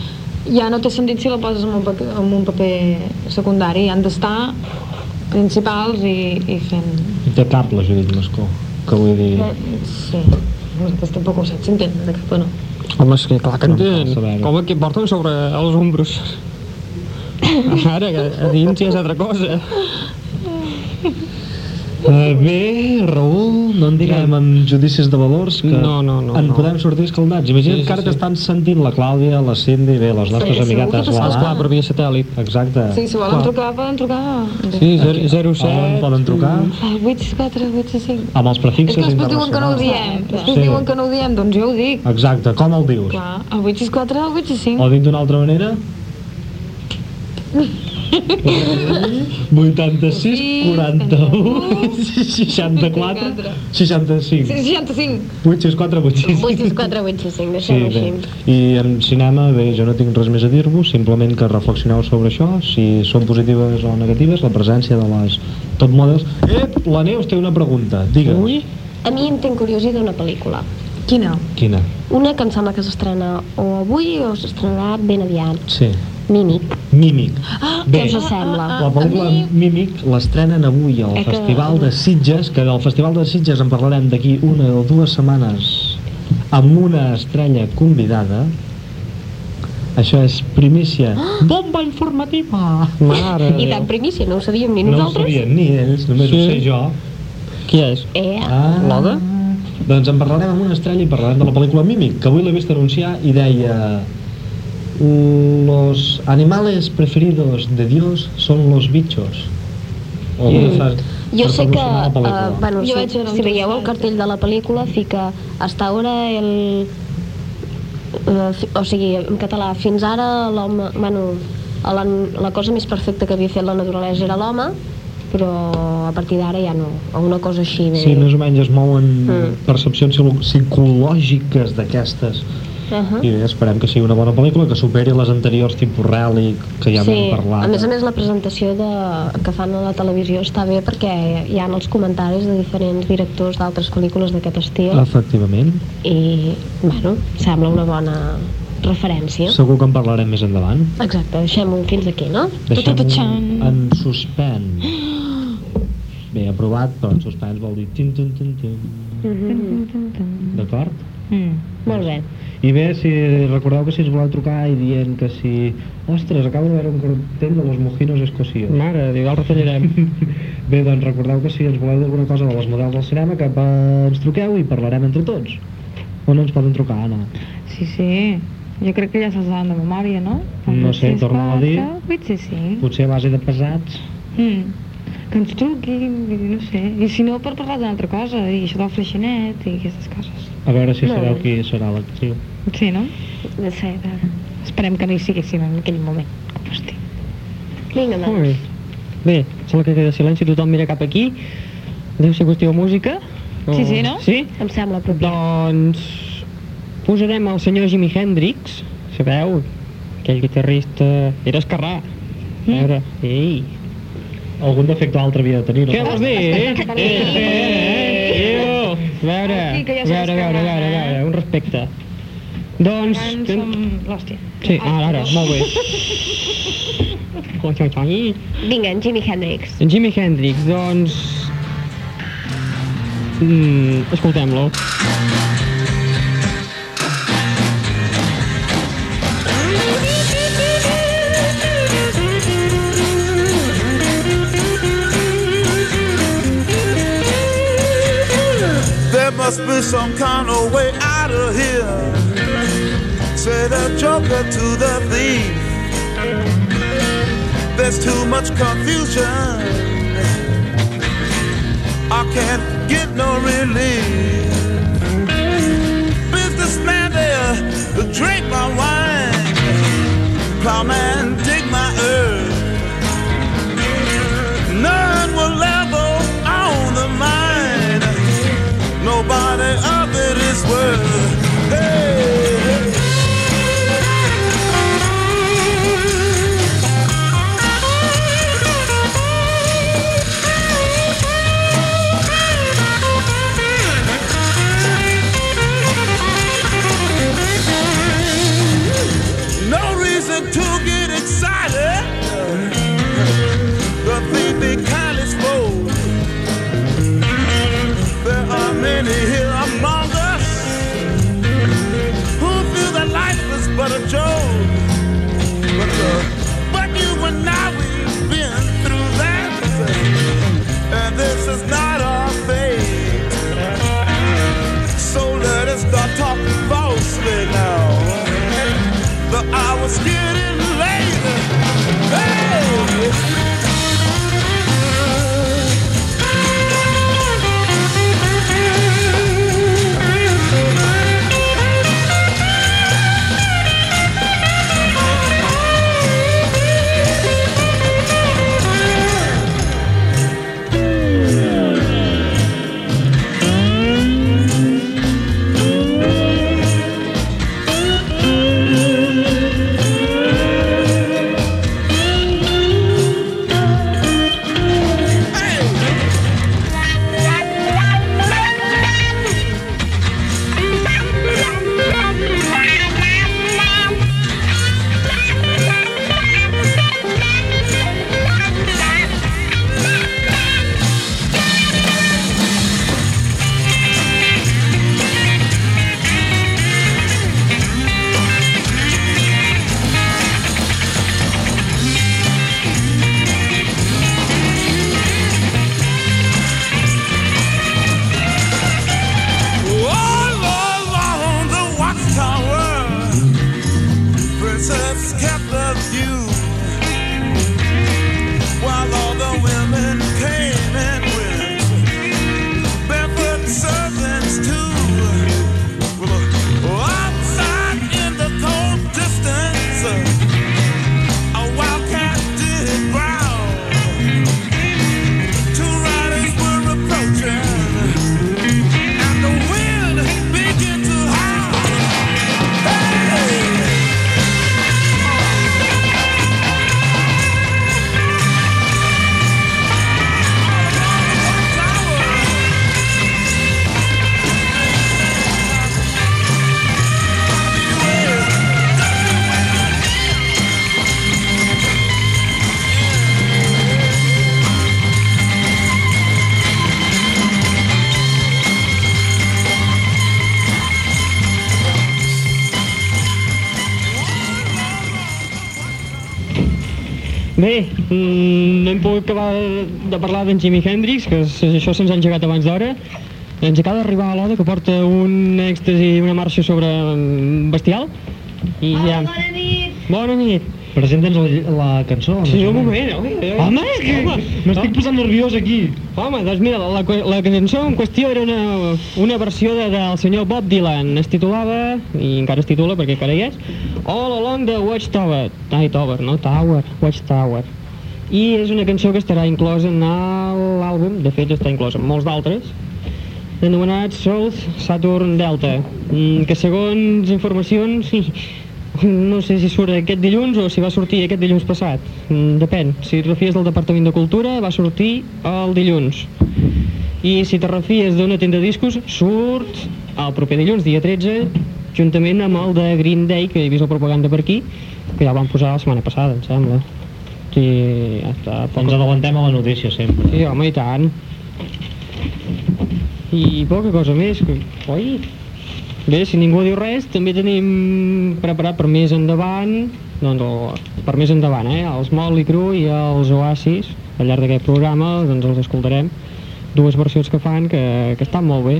[SPEAKER 3] ja no té sentit si la poses en un paper, en un paper secundari, han d'estar principals i, i fent...
[SPEAKER 1] té cap la Judit Mascó, que vull dir...
[SPEAKER 3] Sí, nosaltres tampoc ho saps, s'entén, de cap o no.
[SPEAKER 6] Home, és que clar que
[SPEAKER 1] No em
[SPEAKER 6] entén.
[SPEAKER 1] cal saber-ho.
[SPEAKER 6] Com que porten sobre els ombros. Ara, que a dins ja és altra cosa.
[SPEAKER 1] Uh,
[SPEAKER 6] Eh,
[SPEAKER 1] bé, Raül, no en diguem en judicis de valors que
[SPEAKER 6] No, no, no,
[SPEAKER 1] en
[SPEAKER 6] no.
[SPEAKER 1] podem sortir escaldats. Imagina't
[SPEAKER 6] Sí, sí,
[SPEAKER 1] que ara
[SPEAKER 6] sí.
[SPEAKER 1] t'estan sentint la Clàudia, la Cindy, bé, les nostres
[SPEAKER 2] Sí, segur que
[SPEAKER 1] amiguetes.
[SPEAKER 6] Ah, esclar, per via satèl·lit.
[SPEAKER 1] Exacte.
[SPEAKER 3] Sí, si volen trucar, poden trucar...
[SPEAKER 6] Sí, 07...
[SPEAKER 1] On poden trucar?
[SPEAKER 3] Ai, 8, 4, 8, 5...
[SPEAKER 1] Amb els
[SPEAKER 3] És
[SPEAKER 1] prefixes
[SPEAKER 3] que després diuen que no ho
[SPEAKER 1] internacionals.
[SPEAKER 3] diem, després
[SPEAKER 1] Sí.
[SPEAKER 3] diuen que no ho diem, doncs jo ho dic.
[SPEAKER 1] Exacte, com el dius?
[SPEAKER 3] Clar, el 864, el 865.
[SPEAKER 1] O dit d'una altra manera? 86, 41, 64, 65,
[SPEAKER 3] 65.
[SPEAKER 1] 864, 865.
[SPEAKER 2] 864, 865,
[SPEAKER 1] Sí,
[SPEAKER 2] deixem-ho
[SPEAKER 1] bé.
[SPEAKER 2] així.
[SPEAKER 1] I en cinema, bé, jo no tinc res més a dir-vos, simplement que reflexioneu sobre això, si són positives o negatives, la presència de les top models. Ep, la Neus té una pregunta, digue'm.
[SPEAKER 6] Ui,
[SPEAKER 2] A mi em tinc curiositat una pel·lícula.
[SPEAKER 3] Quina?
[SPEAKER 1] Quina?
[SPEAKER 2] Una que em sembla que s'estrena o avui o s'estrenarà ben aviat.
[SPEAKER 1] Sí.
[SPEAKER 2] Mímic.
[SPEAKER 1] Mímic. Ah, bé,
[SPEAKER 2] Què us sembla?
[SPEAKER 1] la pel·lícula Mímic l'estrenen avui al
[SPEAKER 2] Eh, que-
[SPEAKER 1] Festival de Sitges, que del Festival de Sitges en parlarem d'aquí una o dues setmanes amb una estrella convidada. Això és primícia.
[SPEAKER 2] Ah,
[SPEAKER 1] Bomba informativa!
[SPEAKER 3] ah,
[SPEAKER 6] mare de
[SPEAKER 2] I
[SPEAKER 6] Déu.
[SPEAKER 2] tant primícia, no ho sabíem ni
[SPEAKER 1] No ho
[SPEAKER 2] nosaltres.
[SPEAKER 1] sabien ni ells, només
[SPEAKER 6] Sí.
[SPEAKER 1] ho sé jo.
[SPEAKER 6] Qui és?
[SPEAKER 2] Eh,
[SPEAKER 1] Ah.
[SPEAKER 6] L'Oda?
[SPEAKER 1] Doncs en parlarem amb una estrella i parlarem de la pel·lícula Mímic, que avui l'he vist anunciar i deia... Los animales preferidos de Dios son los bichos. O
[SPEAKER 6] Mm.
[SPEAKER 1] per fer-
[SPEAKER 2] Jo
[SPEAKER 1] per
[SPEAKER 2] sé que,
[SPEAKER 1] promocionar la pel·lícula.
[SPEAKER 2] eh, bueno,
[SPEAKER 3] Jo vaig
[SPEAKER 2] si,
[SPEAKER 3] veure un
[SPEAKER 2] si veieu el
[SPEAKER 3] documental.
[SPEAKER 2] cartell de la pel·lícula, fica hasta ahora el... eh, fi- O sigui, en català, fins ara l'home... Bueno, la, la cosa més perfecta que havia fet la naturalesa era l'home, però a partir d'ara ja no, o una cosa així.
[SPEAKER 1] Sí, més o menys es mouen
[SPEAKER 2] Mm.
[SPEAKER 1] percepcions psilo- psicològiques d'aquestes.
[SPEAKER 2] Uh -huh.
[SPEAKER 1] I bé, esperem que sigui una bona pel·lícula, que superi les anteriors tipus Relic, que ja
[SPEAKER 2] sí,
[SPEAKER 1] vam parlar.
[SPEAKER 2] a més a més la presentació de, que fan a la televisió està bé perquè hi ha els comentaris de diferents directors d'altres pel·lícules d'aquest estil
[SPEAKER 1] Efectivament.
[SPEAKER 2] i, bueno, sembla una bona referència.
[SPEAKER 1] Segur que en parlarem més endavant.
[SPEAKER 2] Exacte, deixem-ho fins aquí, no?
[SPEAKER 1] Deixem-ho
[SPEAKER 3] Tututuxan.
[SPEAKER 1] en suspens. Bé, aprovat, però en suspens vol dir tin, tin, tin, tin.
[SPEAKER 3] Mhm.
[SPEAKER 1] D'acord?
[SPEAKER 3] Mm.
[SPEAKER 2] Molt bé.
[SPEAKER 1] I bé, si recordeu que si ens voleu trucar i dient que si... Ostres, acabo de veure un cartell de los mojinos escocios.
[SPEAKER 6] Mare, diu, el retallarem.
[SPEAKER 1] Bé, doncs recordeu que si ens voleu dir alguna cosa de les models del cinema, que eh, ens truqueu i parlarem entre tots. On ens poden trucar, Anna?
[SPEAKER 3] Sí, sí. Jo crec que ja se'ls han de memòria, no?
[SPEAKER 1] No sé,
[SPEAKER 3] Sis,
[SPEAKER 1] torna-ho a
[SPEAKER 3] quatre,
[SPEAKER 1] dir.
[SPEAKER 3] Vuit, sis, cinc.
[SPEAKER 1] Potser a base de pesats.
[SPEAKER 3] Mm. Que ens truquin, vull dir, no sé. I si no, per parlar d'una altra cosa, i això del freixinet i aquestes coses.
[SPEAKER 1] A veure si
[SPEAKER 2] Molt
[SPEAKER 1] sabeu
[SPEAKER 2] bé.
[SPEAKER 1] qui serà l'actriu.
[SPEAKER 3] Sí, no?
[SPEAKER 2] De ser,
[SPEAKER 3] Esperem que no hi siguéssim en aquell moment. Hosti.
[SPEAKER 2] Vinga,
[SPEAKER 6] Molt
[SPEAKER 2] doncs.
[SPEAKER 6] bé. Bé, sembla que queda silenci, tothom mira cap aquí. Deu ser qüestió de música.
[SPEAKER 3] Sí, sí, no?
[SPEAKER 6] Sí?
[SPEAKER 2] Em sembla propi.
[SPEAKER 6] Doncs posarem el senyor Jimi Hendrix, sabeu? Aquell guitarrista... Era esquerrà.
[SPEAKER 3] Mm.
[SPEAKER 6] A veure, ei...
[SPEAKER 1] Algun defecte altre havia de tenir, no?
[SPEAKER 6] Què vols dir? Eh, eh, eh, eh, iu. A veure,
[SPEAKER 3] Hosti, que ja
[SPEAKER 6] a veure, a veure, a veure, a veure, un respecte. Doncs...
[SPEAKER 3] Abans
[SPEAKER 6] ten-
[SPEAKER 3] som l'hòstia.
[SPEAKER 6] Sí, ah, ara, ara, molt bé. Oi, oi, oi.
[SPEAKER 2] Vinga, en Jimi Hendrix.
[SPEAKER 6] En Jimi Hendrix, doncs... Mm, Escoltem-lo.
[SPEAKER 7] There must be some kind of way out of here. Say the joker to the thief. There's too much confusion. I can't get no relief. Businessman there, drink my wine. Plowman, dig my earth. None will level on the mind. Nobody of it is worth. Hey. No reason to give uh,
[SPEAKER 6] Bé, mm, no hem pogut acabar de- de parlar d'en Jimi Hendrix, que s- això se'ns ha engegat abans d'hora. Ens acaba d'arribar a l'Oda, que porta un èxtasi i una marxa sobre mm, bestial. I ja...
[SPEAKER 2] Bona nit!
[SPEAKER 6] Bona nit.
[SPEAKER 1] Presenta'ns la, la cançó.
[SPEAKER 6] Sí,
[SPEAKER 1] no?
[SPEAKER 6] un moment, oi?
[SPEAKER 1] Home, que m'estic posant nerviós aquí.
[SPEAKER 6] Home, doncs mira, la, la, la cançó en qüestió era una, una versió de, del senyor Bob Dylan. Es titulava, i encara es titula perquè encara hi és, All Along the Watchtower. Ai, Tower, no? Tower, Watchtower. I és una cançó que estarà inclosa en l'àlbum, de fet està inclosa en molts d'altres, anomenat South Saturn Delta, mm, que segons informacions, sí, no sé si surt aquest dilluns o si va sortir aquest dilluns passat. Mm, Depèn, si et refies del Departament de Cultura, va sortir el dilluns. I si te refies d'una tenda de discos, surt el proper dilluns, dia 13, juntament amb el de Green Day, que he vist la propaganda per aquí, que ja el van posar la setmana passada, em sembla. Sí, ja està. poc-
[SPEAKER 1] Ens adellantem a Doncs la notícia sempre.
[SPEAKER 6] Sí, home, i tant. I poca cosa més, que- oi? Bé, si ningú diu res, també tenim preparat per més endavant, doncs, el, per més endavant, eh? Els Motley Crue i els Oasis, al llarg d'aquest programa, doncs els escoltarem. Dues versions que fan que, que estan molt bé.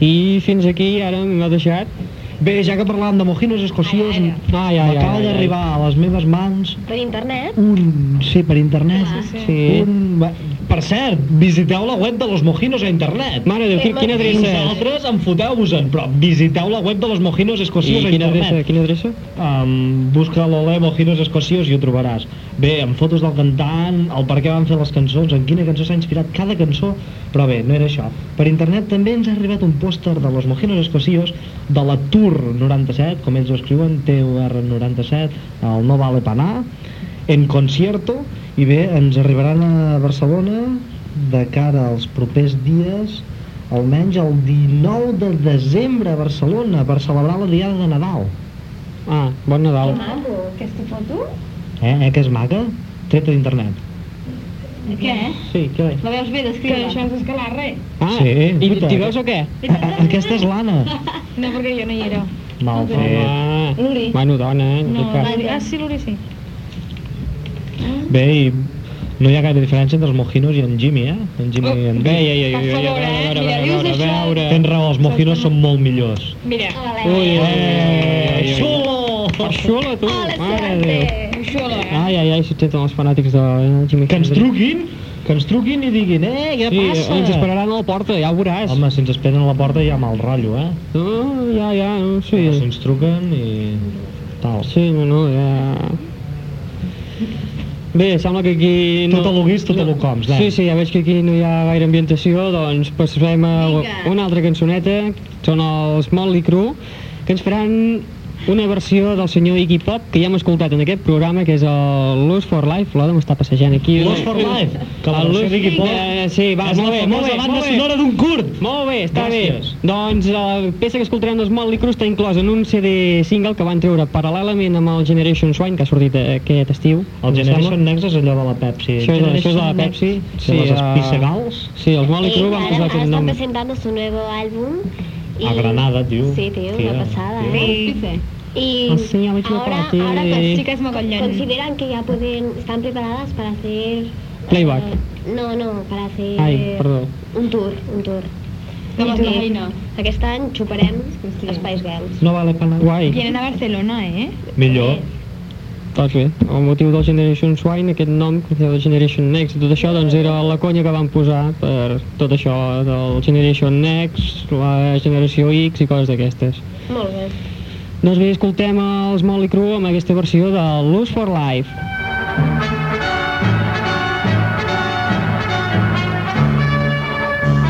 [SPEAKER 6] I fins aquí, ara m'ha deixat. Ah,
[SPEAKER 1] Bé, ja que parlàvem de mojinos escocios,
[SPEAKER 6] Ai, ai, ai.
[SPEAKER 1] m'acaba
[SPEAKER 6] ai, ai.
[SPEAKER 1] d'arribar a les meves mans
[SPEAKER 2] Per internet?
[SPEAKER 1] un... Sí, per internet.
[SPEAKER 6] Ah, Sí.
[SPEAKER 1] Un... va- Per cert, visiteu la web de los mojinos a internet.
[SPEAKER 6] Mare de Déu, qui- quina
[SPEAKER 1] I
[SPEAKER 6] adreça és?
[SPEAKER 1] vosaltres enfoteu-vos-en, però visiteu la web de los mojinos
[SPEAKER 6] I
[SPEAKER 1] escocios a
[SPEAKER 6] quina adreça,
[SPEAKER 1] internet.
[SPEAKER 6] quina adreça?
[SPEAKER 1] Um, busca l'Olé Mojinos Escocios i ho trobaràs. Bé, amb fotos del cantant, el per què van fer les cançons, en quina cançó s'ha inspirat cada cançó, però bé, no era això. Per internet també ens ha arribat un pòster de los Mojinos Escocios de la Tour 97, com ells ho escriuen, TUR97, el No Vale Paná, en concierto, i bé, ens arribaran a Barcelona de cara als propers dies almenys el 19 de desembre a Barcelona per celebrar la Diada de Nadal.
[SPEAKER 6] Ah, bon Nadal.
[SPEAKER 2] Maco, aquesta foto?
[SPEAKER 1] Eh, eh que és maca? Treta d'internet.
[SPEAKER 2] Què?
[SPEAKER 6] Sí, què veig?
[SPEAKER 2] La veus bé
[SPEAKER 3] Que
[SPEAKER 2] descriure?
[SPEAKER 3] això és escalar res.
[SPEAKER 6] Ah,
[SPEAKER 1] Sí,
[SPEAKER 6] i
[SPEAKER 1] puta.
[SPEAKER 6] t'hi veus o què?
[SPEAKER 1] A- a- Aquesta és l'Anna.
[SPEAKER 3] No, perquè jo no hi era.
[SPEAKER 1] Mal fet.
[SPEAKER 6] Home,
[SPEAKER 3] L'Uri.
[SPEAKER 6] bueno, dona, eh? en
[SPEAKER 2] No,
[SPEAKER 6] tot cas.
[SPEAKER 2] l'Uri.
[SPEAKER 3] Ah, sí, l'Uri sí.
[SPEAKER 1] Bé, i no hi ha gaire diferència entre els mojinos i en Jimmy, eh? En Jimmy i en
[SPEAKER 6] Bé,
[SPEAKER 1] Jimmy.
[SPEAKER 6] ja, ja, ja,
[SPEAKER 3] Per
[SPEAKER 6] ja, ja,
[SPEAKER 3] favor, eh?
[SPEAKER 6] veure,
[SPEAKER 3] Mira,
[SPEAKER 6] veure,
[SPEAKER 3] dius
[SPEAKER 6] veure,
[SPEAKER 3] això?
[SPEAKER 6] veure.
[SPEAKER 1] Tens raó, els mojinos són molt millors.
[SPEAKER 3] Mira,
[SPEAKER 6] Ui,
[SPEAKER 2] Hola.
[SPEAKER 1] Eh,
[SPEAKER 6] xulo!
[SPEAKER 1] xulo!
[SPEAKER 6] Xulo, tu,
[SPEAKER 2] Hola,
[SPEAKER 6] mare de Déu.
[SPEAKER 2] Sante.
[SPEAKER 3] xulo, eh?
[SPEAKER 6] Ai, ai, ai, si tenen els fanàtics de Jimmy
[SPEAKER 1] Que ens
[SPEAKER 6] Hendrix.
[SPEAKER 1] truquin, que ens truquin i diguin, eh, què
[SPEAKER 6] Sí,
[SPEAKER 1] passa?
[SPEAKER 6] ens esperaran a la porta, ja ho veuràs.
[SPEAKER 1] Home, si ens esperen a la porta hi ha mal rotllo, eh?
[SPEAKER 6] No, ja, ja, no,
[SPEAKER 1] Sí. Si
[SPEAKER 6] sí.
[SPEAKER 1] ens truquen i... Tal.
[SPEAKER 6] Sí, no, no, ja... Bé, sembla que aquí... No...
[SPEAKER 1] Tot a lo guix, tot a lo coms, nen.
[SPEAKER 6] Sí, sí, ja veig que aquí no hi ha gaire ambientació, doncs passarem a
[SPEAKER 2] Vinga.
[SPEAKER 6] una altra cançoneta, són els Motley Crue, que ens faran una versió del senyor Iggy Pop, que ja hem escoltat en aquest programa, que és el Lose for Life, l'Odem està passejant aquí.
[SPEAKER 1] Lost for Life, que la
[SPEAKER 6] El
[SPEAKER 1] versió
[SPEAKER 6] Lose-
[SPEAKER 1] d'Iggy Pop
[SPEAKER 6] Eh, sí, va,
[SPEAKER 1] és la
[SPEAKER 6] molt bé,
[SPEAKER 1] famosa
[SPEAKER 6] molt bé,
[SPEAKER 1] banda
[SPEAKER 6] molt bé.
[SPEAKER 1] sonora d'un curt.
[SPEAKER 6] Molt bé, està
[SPEAKER 1] Gràcies.
[SPEAKER 6] bé. Doncs la peça que escoltarem dels Motley Crue està inclosa en un CD single que van treure paral·lelament amb el Generation Swine, que ha sortit eh, aquest estiu.
[SPEAKER 1] El
[SPEAKER 6] em
[SPEAKER 1] Generation
[SPEAKER 6] sembla.
[SPEAKER 1] Next és allò de la Pepsi.
[SPEAKER 6] Això és, això és de la
[SPEAKER 1] Generation Next,
[SPEAKER 6] Pepsi.
[SPEAKER 1] Sí, les
[SPEAKER 6] eh,
[SPEAKER 1] espissegals.
[SPEAKER 6] Sí, els Motley Crue
[SPEAKER 2] Ells
[SPEAKER 6] van
[SPEAKER 2] ara
[SPEAKER 6] posar aquest
[SPEAKER 2] estan
[SPEAKER 6] nom.
[SPEAKER 2] presentando su nuevo álbum. y-
[SPEAKER 1] A Granada, tio.
[SPEAKER 2] Sí, tío,
[SPEAKER 1] Tía,
[SPEAKER 2] una pasada.
[SPEAKER 1] tía.
[SPEAKER 2] ¿eh? Y
[SPEAKER 6] Así, a ver si me
[SPEAKER 2] ahora,
[SPEAKER 6] parece.
[SPEAKER 2] ahora con-
[SPEAKER 3] Sí que és mogollon.
[SPEAKER 2] consideran que ya pueden, están preparadas para hacer...
[SPEAKER 6] Playback.
[SPEAKER 2] eh, no, no, para hacer...
[SPEAKER 6] Ai, perdó.
[SPEAKER 2] Un tour, un tour.
[SPEAKER 3] De la
[SPEAKER 2] I que
[SPEAKER 3] feina.
[SPEAKER 2] Aquest any xuparem Espais Verds.
[SPEAKER 1] No vale para nada.
[SPEAKER 6] Guai,
[SPEAKER 3] Vienen a Barcelona, eh?
[SPEAKER 1] Millor.
[SPEAKER 6] doncs bé, el motiu del Generation Swine, aquest nom que de Generation Next i tot això, doncs era la conya que van posar per tot això del Generation Next, la Generació X i coses d'aquestes.
[SPEAKER 2] Molt bé.
[SPEAKER 6] Doncs bé, escoltem els Motley Crue amb aquesta versió de Lose for Life.
[SPEAKER 1] Que és...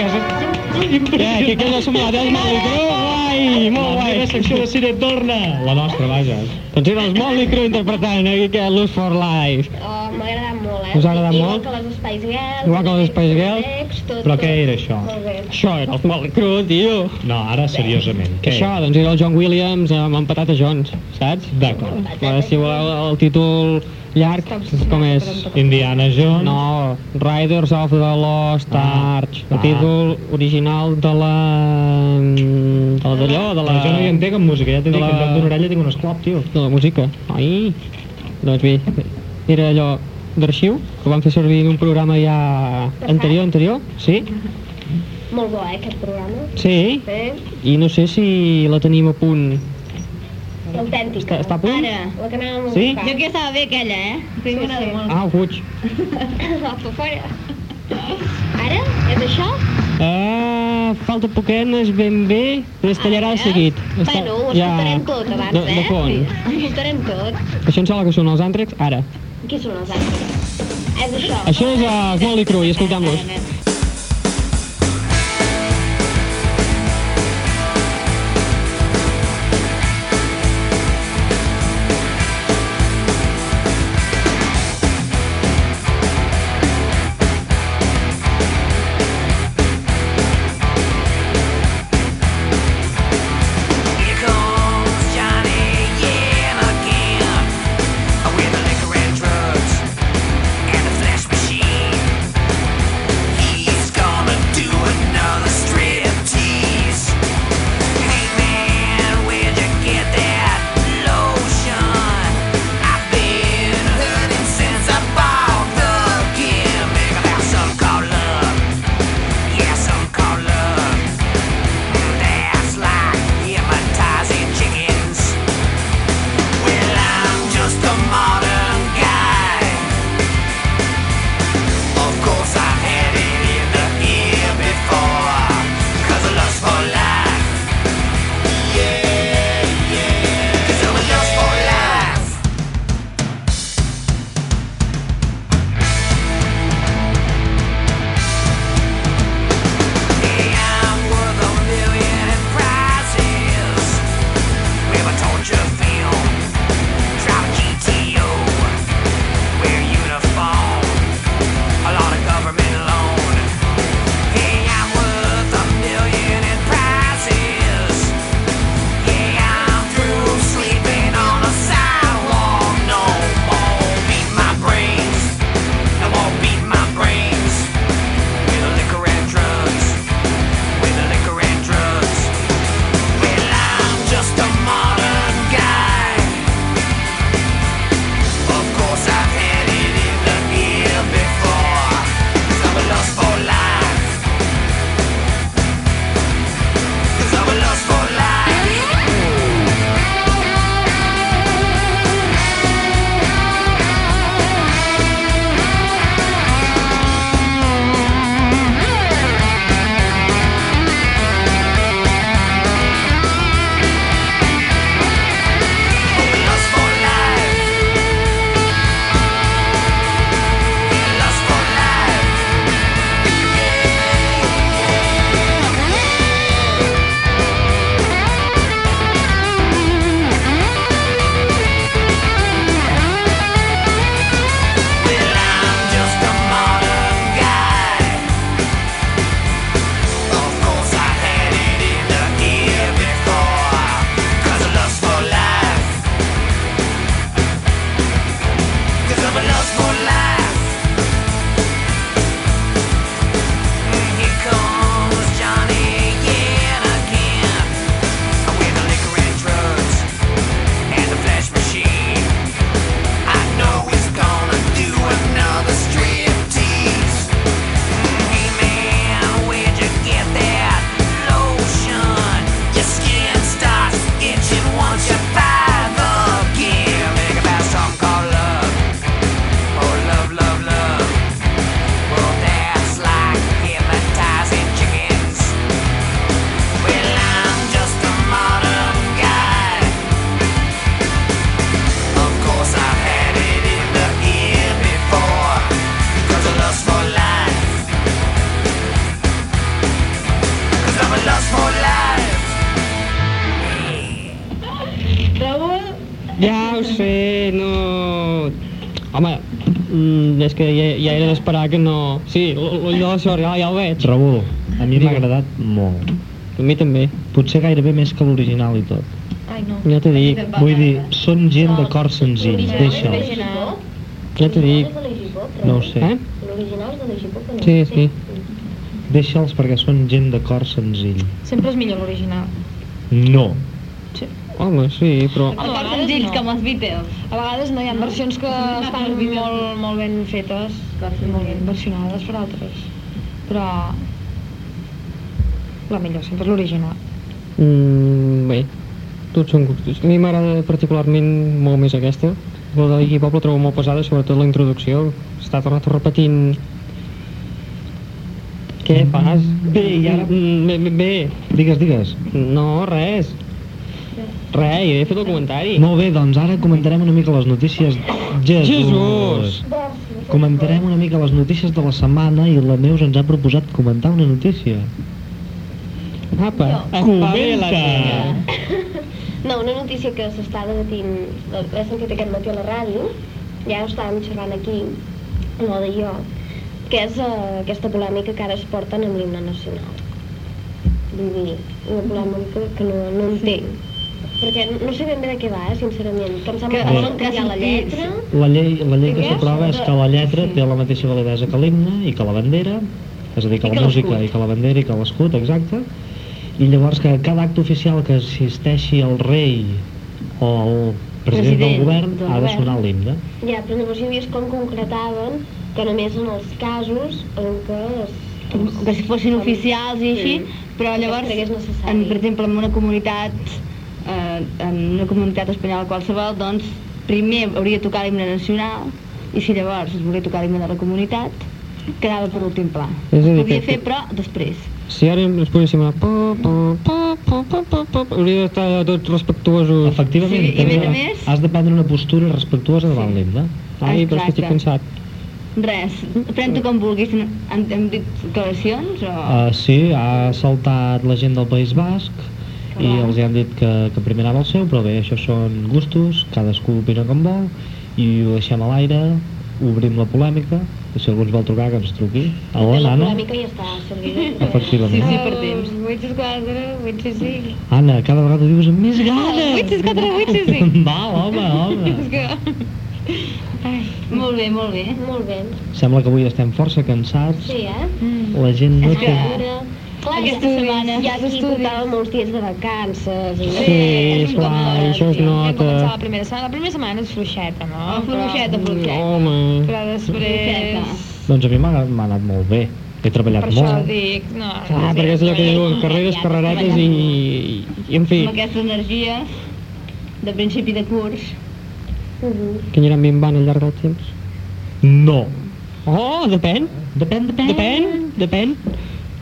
[SPEAKER 1] Eh,
[SPEAKER 6] Ja, que queda sumat els Motley Crue, guai, molt guai.
[SPEAKER 1] secció de cine torna! La nostra, vaja.
[SPEAKER 6] Doncs era els Motley Crue interpretant aquí aquest Lose for Life.
[SPEAKER 2] Oh, m'ha agradat molt, eh?
[SPEAKER 6] Us ha agradat
[SPEAKER 2] Igual
[SPEAKER 6] molt?
[SPEAKER 2] que les Espais Girls.
[SPEAKER 6] Igual que les Spice Girls.
[SPEAKER 2] Girls. Tot,
[SPEAKER 1] Però què
[SPEAKER 2] tot.
[SPEAKER 1] era això?
[SPEAKER 2] Molt bé.
[SPEAKER 6] Això era els Motley Crue, tio.
[SPEAKER 1] No, ara seriosament.
[SPEAKER 6] Que això, doncs era el John Williams amb en Patata Jones, saps?
[SPEAKER 1] D'acord.
[SPEAKER 6] Però si voleu el títol llarg, com és?
[SPEAKER 1] Indiana Jones.
[SPEAKER 6] No, Riders of the Lost
[SPEAKER 1] Ah,
[SPEAKER 6] Arch, el
[SPEAKER 1] ah.
[SPEAKER 6] títol original de la... de la d'allò, de la...
[SPEAKER 1] Però jo no hi entenc en música, ja t'he dit
[SPEAKER 6] La-
[SPEAKER 1] que en lloc d'una orella tinc un esclop, tio.
[SPEAKER 6] de la música. Ai, doncs bé, era allò d'arxiu, que vam fer servir en un programa ja anterior, anterior, sí?
[SPEAKER 2] Molt bo, eh, aquest programa.
[SPEAKER 6] Sí,
[SPEAKER 2] Eh?
[SPEAKER 6] i no sé si la tenim a punt.
[SPEAKER 2] L'autèntica.
[SPEAKER 6] Està- està a punt?
[SPEAKER 2] Ara, la que anàvem a
[SPEAKER 6] Sí?
[SPEAKER 2] buscar.
[SPEAKER 8] Jo que estava bé aquella, eh? Sí, m'agrada molt.
[SPEAKER 6] Ah, ho fuig.
[SPEAKER 2] Apa, fora. Ara? És això?
[SPEAKER 6] Ah, falta poquet, no és ben bé, però es tallarà de
[SPEAKER 2] Ara?
[SPEAKER 6] seguit.
[SPEAKER 2] Ah, Bueno, ho escoltarem tot abans,
[SPEAKER 6] de, de
[SPEAKER 2] eh?
[SPEAKER 6] fons.
[SPEAKER 2] Ho escoltarem tot.
[SPEAKER 6] Això em sembla que són els àntrecs, ara.
[SPEAKER 2] Qui són els altres? És això.
[SPEAKER 6] Això és els Molly Crew, i escoltem-los.
[SPEAKER 9] Just a modern guy
[SPEAKER 8] Raül,
[SPEAKER 6] Ja ho sé, no... Home, mm, és que ja, ja era d'esperar que no... Sí, l- l'ull de la sort, ja, ja el veig.
[SPEAKER 1] Raül, a mi m'ha
[SPEAKER 6] Digue'm.
[SPEAKER 1] agradat molt.
[SPEAKER 6] A mi també,
[SPEAKER 1] Potser gairebé més que l'original i tot.
[SPEAKER 8] Ai, no.
[SPEAKER 6] ja t'ho dic,
[SPEAKER 1] Vull dir, són gent de cor senzill, deixa'ls.
[SPEAKER 6] ja t'ho dic.
[SPEAKER 1] No ho sé.
[SPEAKER 6] Eh?
[SPEAKER 2] L'original és de l'Egipot, no?
[SPEAKER 6] Sí, sí.
[SPEAKER 1] Deixa'ls perquè són gent de cor senzill.
[SPEAKER 3] Sempre és millor l'original.
[SPEAKER 1] No.
[SPEAKER 6] Home, sí, però...
[SPEAKER 8] El cor senzill,
[SPEAKER 3] no.
[SPEAKER 8] com els Beatles.
[SPEAKER 3] A vegades no hi ha versions que estan molt, molt ben fetes, molt ben versionades per altres, però la millor sempre és l'original.
[SPEAKER 6] Mm, bé, tots són gustos. A mi m'agrada particularment molt més aquesta. La de l'Iggy Pop la trobo molt pesada, sobretot la introducció. Està tot el rato repetint... Què fas? Bé, i ara... Mm, bé, bé, bé,
[SPEAKER 1] Digues, digues.
[SPEAKER 6] no, res. Res, ja he fet el comentari.
[SPEAKER 1] Molt bé, doncs ara comentarem una mica les notícies. Jesús!
[SPEAKER 6] Jesús!
[SPEAKER 1] Comentarem una mica les notícies de la setmana i la Neus ens ha proposat comentar una notícia.
[SPEAKER 6] Apa,
[SPEAKER 1] Comenta!
[SPEAKER 6] espavila-te.
[SPEAKER 2] No, una notícia que s'està debatint, l'he sentit aquest matí a la ràdio, ja ho estàvem xerrant aquí, no de jo, que és eh, aquesta polèmica que ara es porten amb l'himne nacional. Vull dir, una polèmica que no, no entenc. Perquè no sé ben bé de què va, eh, sincerament. Que em sembla que,
[SPEAKER 1] Que-
[SPEAKER 2] volen canviar la lletra.
[SPEAKER 1] La llei, la llei que
[SPEAKER 2] Digues?
[SPEAKER 1] s'aprova és que la lletra té la mateixa validesa que l'himne i que la bandera, és a dir, que
[SPEAKER 8] I
[SPEAKER 1] la
[SPEAKER 8] que
[SPEAKER 1] música
[SPEAKER 8] l'escut.
[SPEAKER 1] i que la bandera i que l'escut, exacte. I llavors que cada acte oficial que assisteixi el rei o el president, del
[SPEAKER 8] President
[SPEAKER 1] govern
[SPEAKER 8] del
[SPEAKER 1] ha de
[SPEAKER 8] govern.
[SPEAKER 1] sonar l'himne.
[SPEAKER 2] Ja, però llavors hi havia com concretaven que només en els casos en què es,
[SPEAKER 8] Que si fossin oficials i així, però
[SPEAKER 2] Que es
[SPEAKER 8] llavors,
[SPEAKER 2] cregués necessari.
[SPEAKER 8] en, per exemple, en una comunitat, eh, en una comunitat espanyola qualsevol, doncs primer hauria de tocar l'himne nacional i si llavors es volia tocar l'himne de la comunitat, quedava per últim pla.
[SPEAKER 6] És a dir,
[SPEAKER 8] Ho podia
[SPEAKER 6] que-
[SPEAKER 8] fer, però després.
[SPEAKER 6] Si ara ens poséssim a... Po, po, po, po, po, po, po, po, hauria d'estar tots respectuosos.
[SPEAKER 1] Efectivament,
[SPEAKER 8] Sí, i a més a
[SPEAKER 1] has-
[SPEAKER 8] més-
[SPEAKER 1] has de prendre una postura respectuosa davant l'himne.
[SPEAKER 6] Ai, però és que estic
[SPEAKER 8] Exacte.
[SPEAKER 6] cansat.
[SPEAKER 8] Res, pren-t'ho com vulguis. Hem, hem dit declaracions o...?
[SPEAKER 1] Uh, sí, ha saltat la gent del País Basc i
[SPEAKER 8] Ah.
[SPEAKER 1] els hi han dit que, que primer anava el seu, però bé, això són gustos, cadascú opina com vol i ho deixem a l'aire, obrim la polèmica i si algú ens vol trucar que ens truqui. Hola,
[SPEAKER 2] la
[SPEAKER 1] Anna.
[SPEAKER 2] polèmica ja està servida.
[SPEAKER 1] Efectivament.
[SPEAKER 8] Sí, per temps.
[SPEAKER 3] 8 6 4, 8 6 5.
[SPEAKER 1] Ana, cada vegada ho dius amb
[SPEAKER 8] Ah,
[SPEAKER 1] més
[SPEAKER 3] Vuit,
[SPEAKER 1] ganes.
[SPEAKER 3] sis, quatre, vuit, sis, cinc.
[SPEAKER 1] Val, home,
[SPEAKER 3] És
[SPEAKER 1] home.
[SPEAKER 3] que...
[SPEAKER 8] Molt bé, molt bé.
[SPEAKER 2] Molt bé.
[SPEAKER 1] Sembla que avui estem força cansats.
[SPEAKER 2] Sí, eh?
[SPEAKER 1] La gent no
[SPEAKER 8] És
[SPEAKER 1] té...
[SPEAKER 8] que-
[SPEAKER 2] Una... Clar,
[SPEAKER 8] Aquesta
[SPEAKER 2] ja-
[SPEAKER 8] setmana.
[SPEAKER 2] Ja aquí
[SPEAKER 3] Estudis.
[SPEAKER 2] portava molts dies de vacances. I...
[SPEAKER 6] Sí, esclar, això es
[SPEAKER 3] Hem començat
[SPEAKER 6] nota.
[SPEAKER 3] la primera setmana. La primera setmana és fluixeta, no?
[SPEAKER 8] Ah, fluixeta, fluixeta.
[SPEAKER 6] Home,
[SPEAKER 3] Però, però
[SPEAKER 8] Fluixeta.
[SPEAKER 3] després...
[SPEAKER 1] Doncs a mi m'ha m'ha anat molt bé. He
[SPEAKER 3] Per
[SPEAKER 1] treballat
[SPEAKER 3] això
[SPEAKER 1] molt.
[SPEAKER 3] dic, no...
[SPEAKER 6] ah, perquè és allò que diuen, carreres, carreretes i, i en fi,
[SPEAKER 8] Amb aquestes energies de principi de curs.
[SPEAKER 6] que aniran bimbant al llarg del temps.
[SPEAKER 1] No.
[SPEAKER 6] Oh, depèn,
[SPEAKER 1] Depèn, depèn.
[SPEAKER 6] depèn, depèn.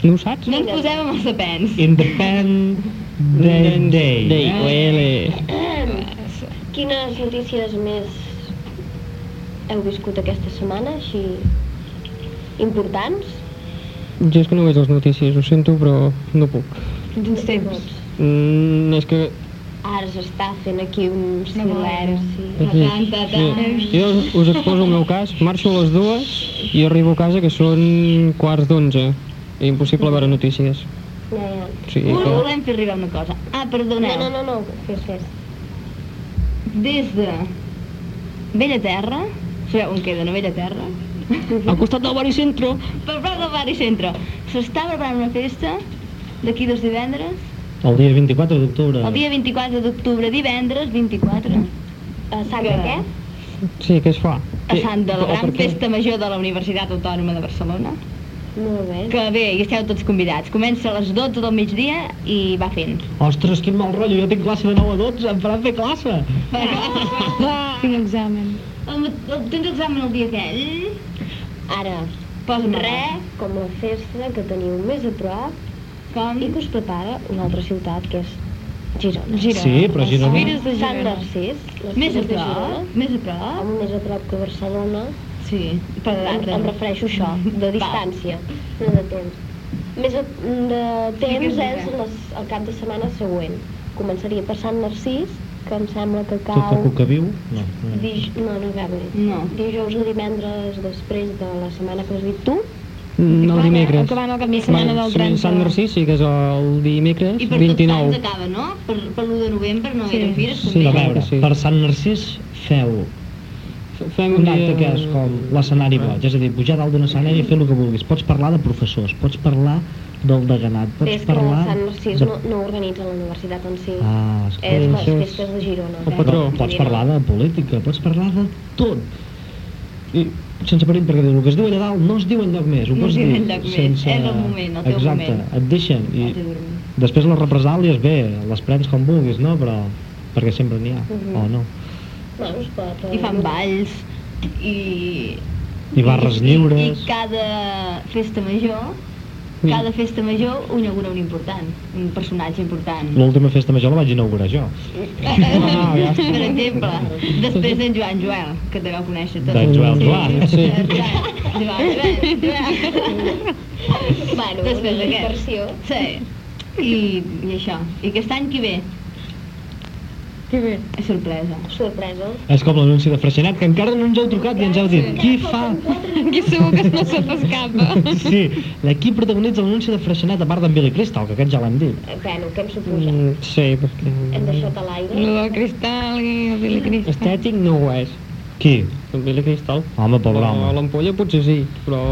[SPEAKER 6] No ho saps?
[SPEAKER 8] No ens posem amb els apens.
[SPEAKER 1] Independent Day.
[SPEAKER 6] Day, uele.
[SPEAKER 2] Quines notícies més heu viscut aquesta setmana, així importants?
[SPEAKER 6] Jo és que no veig les notícies, ho sento, però no puc.
[SPEAKER 3] Quins temps.
[SPEAKER 6] Mm, és que...
[SPEAKER 2] Ara s'està fent aquí un silenci.
[SPEAKER 6] és que- sí. Jo us- us exposo el meu cas, marxo a les dues i arribo a casa que són quarts d'onze. Impossible veure notícies.
[SPEAKER 2] Ja, ja.
[SPEAKER 6] Sí,
[SPEAKER 8] Us
[SPEAKER 6] que...
[SPEAKER 8] volem fer arribar una cosa. Ah,
[SPEAKER 2] No,
[SPEAKER 8] perdoneu.
[SPEAKER 2] no, no, no, fes, fes.
[SPEAKER 8] Des de Vella Terra, sabeu on queda, no? Vella Terra?
[SPEAKER 6] Al costat del barri centro.
[SPEAKER 8] Per prop del barri centre. S'està preparant una festa d'aquí dos divendres,
[SPEAKER 1] El dia 24 d'octubre.
[SPEAKER 6] Ah.
[SPEAKER 8] el dia 24 d'octubre, divendres 24,
[SPEAKER 2] A Sant de què?
[SPEAKER 6] Sí, què es fa?
[SPEAKER 8] a Sant de la
[SPEAKER 6] o per
[SPEAKER 8] gran
[SPEAKER 6] què?
[SPEAKER 8] festa major de la Universitat Autònoma de Barcelona.
[SPEAKER 2] Molt bé.
[SPEAKER 8] Que bé, hi esteu tots convidats. Comença a les 12 del migdia i va fent.
[SPEAKER 1] Ostres, quin mal rotllo, jo tinc classe de 9 a 12, em faran fer classe.
[SPEAKER 3] Tinc examen.
[SPEAKER 8] Home, tens examen el dia aquell?
[SPEAKER 2] Ara,
[SPEAKER 8] Posa'm
[SPEAKER 2] res com la festa que teniu més a prop
[SPEAKER 8] Com?
[SPEAKER 2] i que us prepara una altra ciutat, que és Girona.
[SPEAKER 3] Girona.
[SPEAKER 1] Sí, però Girona-
[SPEAKER 3] Les fires de
[SPEAKER 2] Sant
[SPEAKER 3] Girona.
[SPEAKER 2] Narcís, les
[SPEAKER 8] Més a
[SPEAKER 2] Fires de Girona.
[SPEAKER 8] prop? Més a prop?
[SPEAKER 2] Home, més a prop que Barcelona,
[SPEAKER 8] Sí. Per
[SPEAKER 2] em,
[SPEAKER 8] data.
[SPEAKER 2] em refereixo a això, de distància, no de temps. Més a, de temps és les, el cap de setmana següent. Començaria per Sant Narcís que em sembla que
[SPEAKER 1] Tot el
[SPEAKER 2] cau...
[SPEAKER 1] cuca viu? No. no.
[SPEAKER 2] Dij... No, no acabo de dir.
[SPEAKER 8] No.
[SPEAKER 2] Dijous o divendres després de la setmana que has dit tu.
[SPEAKER 6] No, el dimecres.
[SPEAKER 3] Acabant el cap de setmana
[SPEAKER 6] Bueno,
[SPEAKER 3] del
[SPEAKER 6] sí,
[SPEAKER 3] 30.
[SPEAKER 6] Sant Narcís sí que és el dimecres,
[SPEAKER 8] I per tots
[SPEAKER 6] 29.
[SPEAKER 8] anys acaba, no? Per, per l'1 de novembre no
[SPEAKER 3] Sí.
[SPEAKER 8] eren fires,
[SPEAKER 6] Sí,
[SPEAKER 8] també.
[SPEAKER 1] A
[SPEAKER 6] clar
[SPEAKER 1] veure,
[SPEAKER 6] que sí.
[SPEAKER 1] per Sant Narcís feu
[SPEAKER 6] Fem
[SPEAKER 1] un acte que és com l'escenari boig, és a dir, pujar dalt d'un escenari i fer el que vulguis. Pots parlar de professors, pots parlar del deganat,
[SPEAKER 2] Bé,
[SPEAKER 1] pots
[SPEAKER 2] és que
[SPEAKER 1] parlar...
[SPEAKER 2] Sant Narcís
[SPEAKER 1] de-
[SPEAKER 2] no, no organitza la universitat en si.
[SPEAKER 1] Ah,
[SPEAKER 2] és
[SPEAKER 1] escolta,
[SPEAKER 2] les
[SPEAKER 6] això és-
[SPEAKER 2] festes de Girona.
[SPEAKER 6] El
[SPEAKER 2] eh?
[SPEAKER 6] patró.
[SPEAKER 2] Vull
[SPEAKER 1] pots
[SPEAKER 2] dir, no.
[SPEAKER 1] parlar de política, pots parlar de tot. I sense perill, perquè el que es diu allà dalt no es diu enlloc més. Ho
[SPEAKER 8] No
[SPEAKER 1] pots
[SPEAKER 8] es diu
[SPEAKER 1] dir
[SPEAKER 8] enlloc més,
[SPEAKER 1] sense...
[SPEAKER 8] és el moment, el teu
[SPEAKER 1] Exacte,
[SPEAKER 8] moment.
[SPEAKER 1] et deixen. I
[SPEAKER 8] El teu moment.
[SPEAKER 1] després les represàlies, bé, les prens com vulguis, no? Però perquè sempre n'hi ha,
[SPEAKER 8] Mhm.
[SPEAKER 1] o no.
[SPEAKER 2] Bueno, es pot, eh,
[SPEAKER 8] I fan balls, i...
[SPEAKER 1] I barres
[SPEAKER 8] I,
[SPEAKER 1] lliures.
[SPEAKER 8] I cada festa major,
[SPEAKER 6] Sí.
[SPEAKER 8] cada festa major un inaugura un important, un personatge important.
[SPEAKER 1] L'última festa major la vaig inaugurar jo.
[SPEAKER 6] Ah, ja.
[SPEAKER 8] per exemple, després d'en Joan Joel, que te vau conèixer tots.
[SPEAKER 1] D'en Joel Joan.
[SPEAKER 8] Joan.
[SPEAKER 6] Sí.
[SPEAKER 8] Joan, Joan, Joel.
[SPEAKER 2] Bueno,
[SPEAKER 8] Després
[SPEAKER 2] una
[SPEAKER 8] d'aquest.
[SPEAKER 2] diversió.
[SPEAKER 8] Sí. I, I això. I aquest any qui ve?
[SPEAKER 3] Que bé.
[SPEAKER 8] És sorpresa.
[SPEAKER 2] Sorpresa.
[SPEAKER 1] És com l'anunci de Freixenet, que encara no ens heu trucat i ens heu dit qui fa...
[SPEAKER 3] Aquí segur que no se t'escapa.
[SPEAKER 1] Sí, de qui protagonitza l'anunci de Freixenet a part d'en Billy Crystal, que aquest ja l'hem dit.
[SPEAKER 2] Eh, Bueno, què em suposa?
[SPEAKER 6] Mm, sí, perquè...
[SPEAKER 2] Hem deixat a l'aire.
[SPEAKER 3] Lo del cristal i el Billy Crystal.
[SPEAKER 6] Estètic no ho és,
[SPEAKER 1] Qui?
[SPEAKER 6] el Billy Cristal.
[SPEAKER 1] Home, pobre
[SPEAKER 6] Però
[SPEAKER 1] home.
[SPEAKER 6] L'ampolla potser sí, però...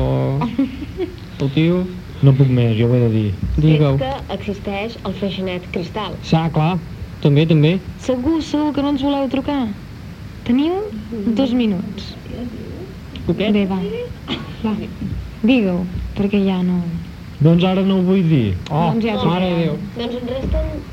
[SPEAKER 6] El tio...
[SPEAKER 1] No puc més, jo ho he de dir.
[SPEAKER 6] Digue-ho.
[SPEAKER 2] És que existeix el freixenet cristal.
[SPEAKER 6] Ah, clar, també, també.
[SPEAKER 3] Segur, segur que no ens voleu trucar. Teniu dos minuts.
[SPEAKER 6] Poquet.
[SPEAKER 3] Bé, va. va. Digue-ho, perquè ja no...
[SPEAKER 1] Doncs ara no ho vull dir.
[SPEAKER 6] Oh,
[SPEAKER 3] Doncs ja
[SPEAKER 6] mare de Déu.
[SPEAKER 2] Doncs ens resten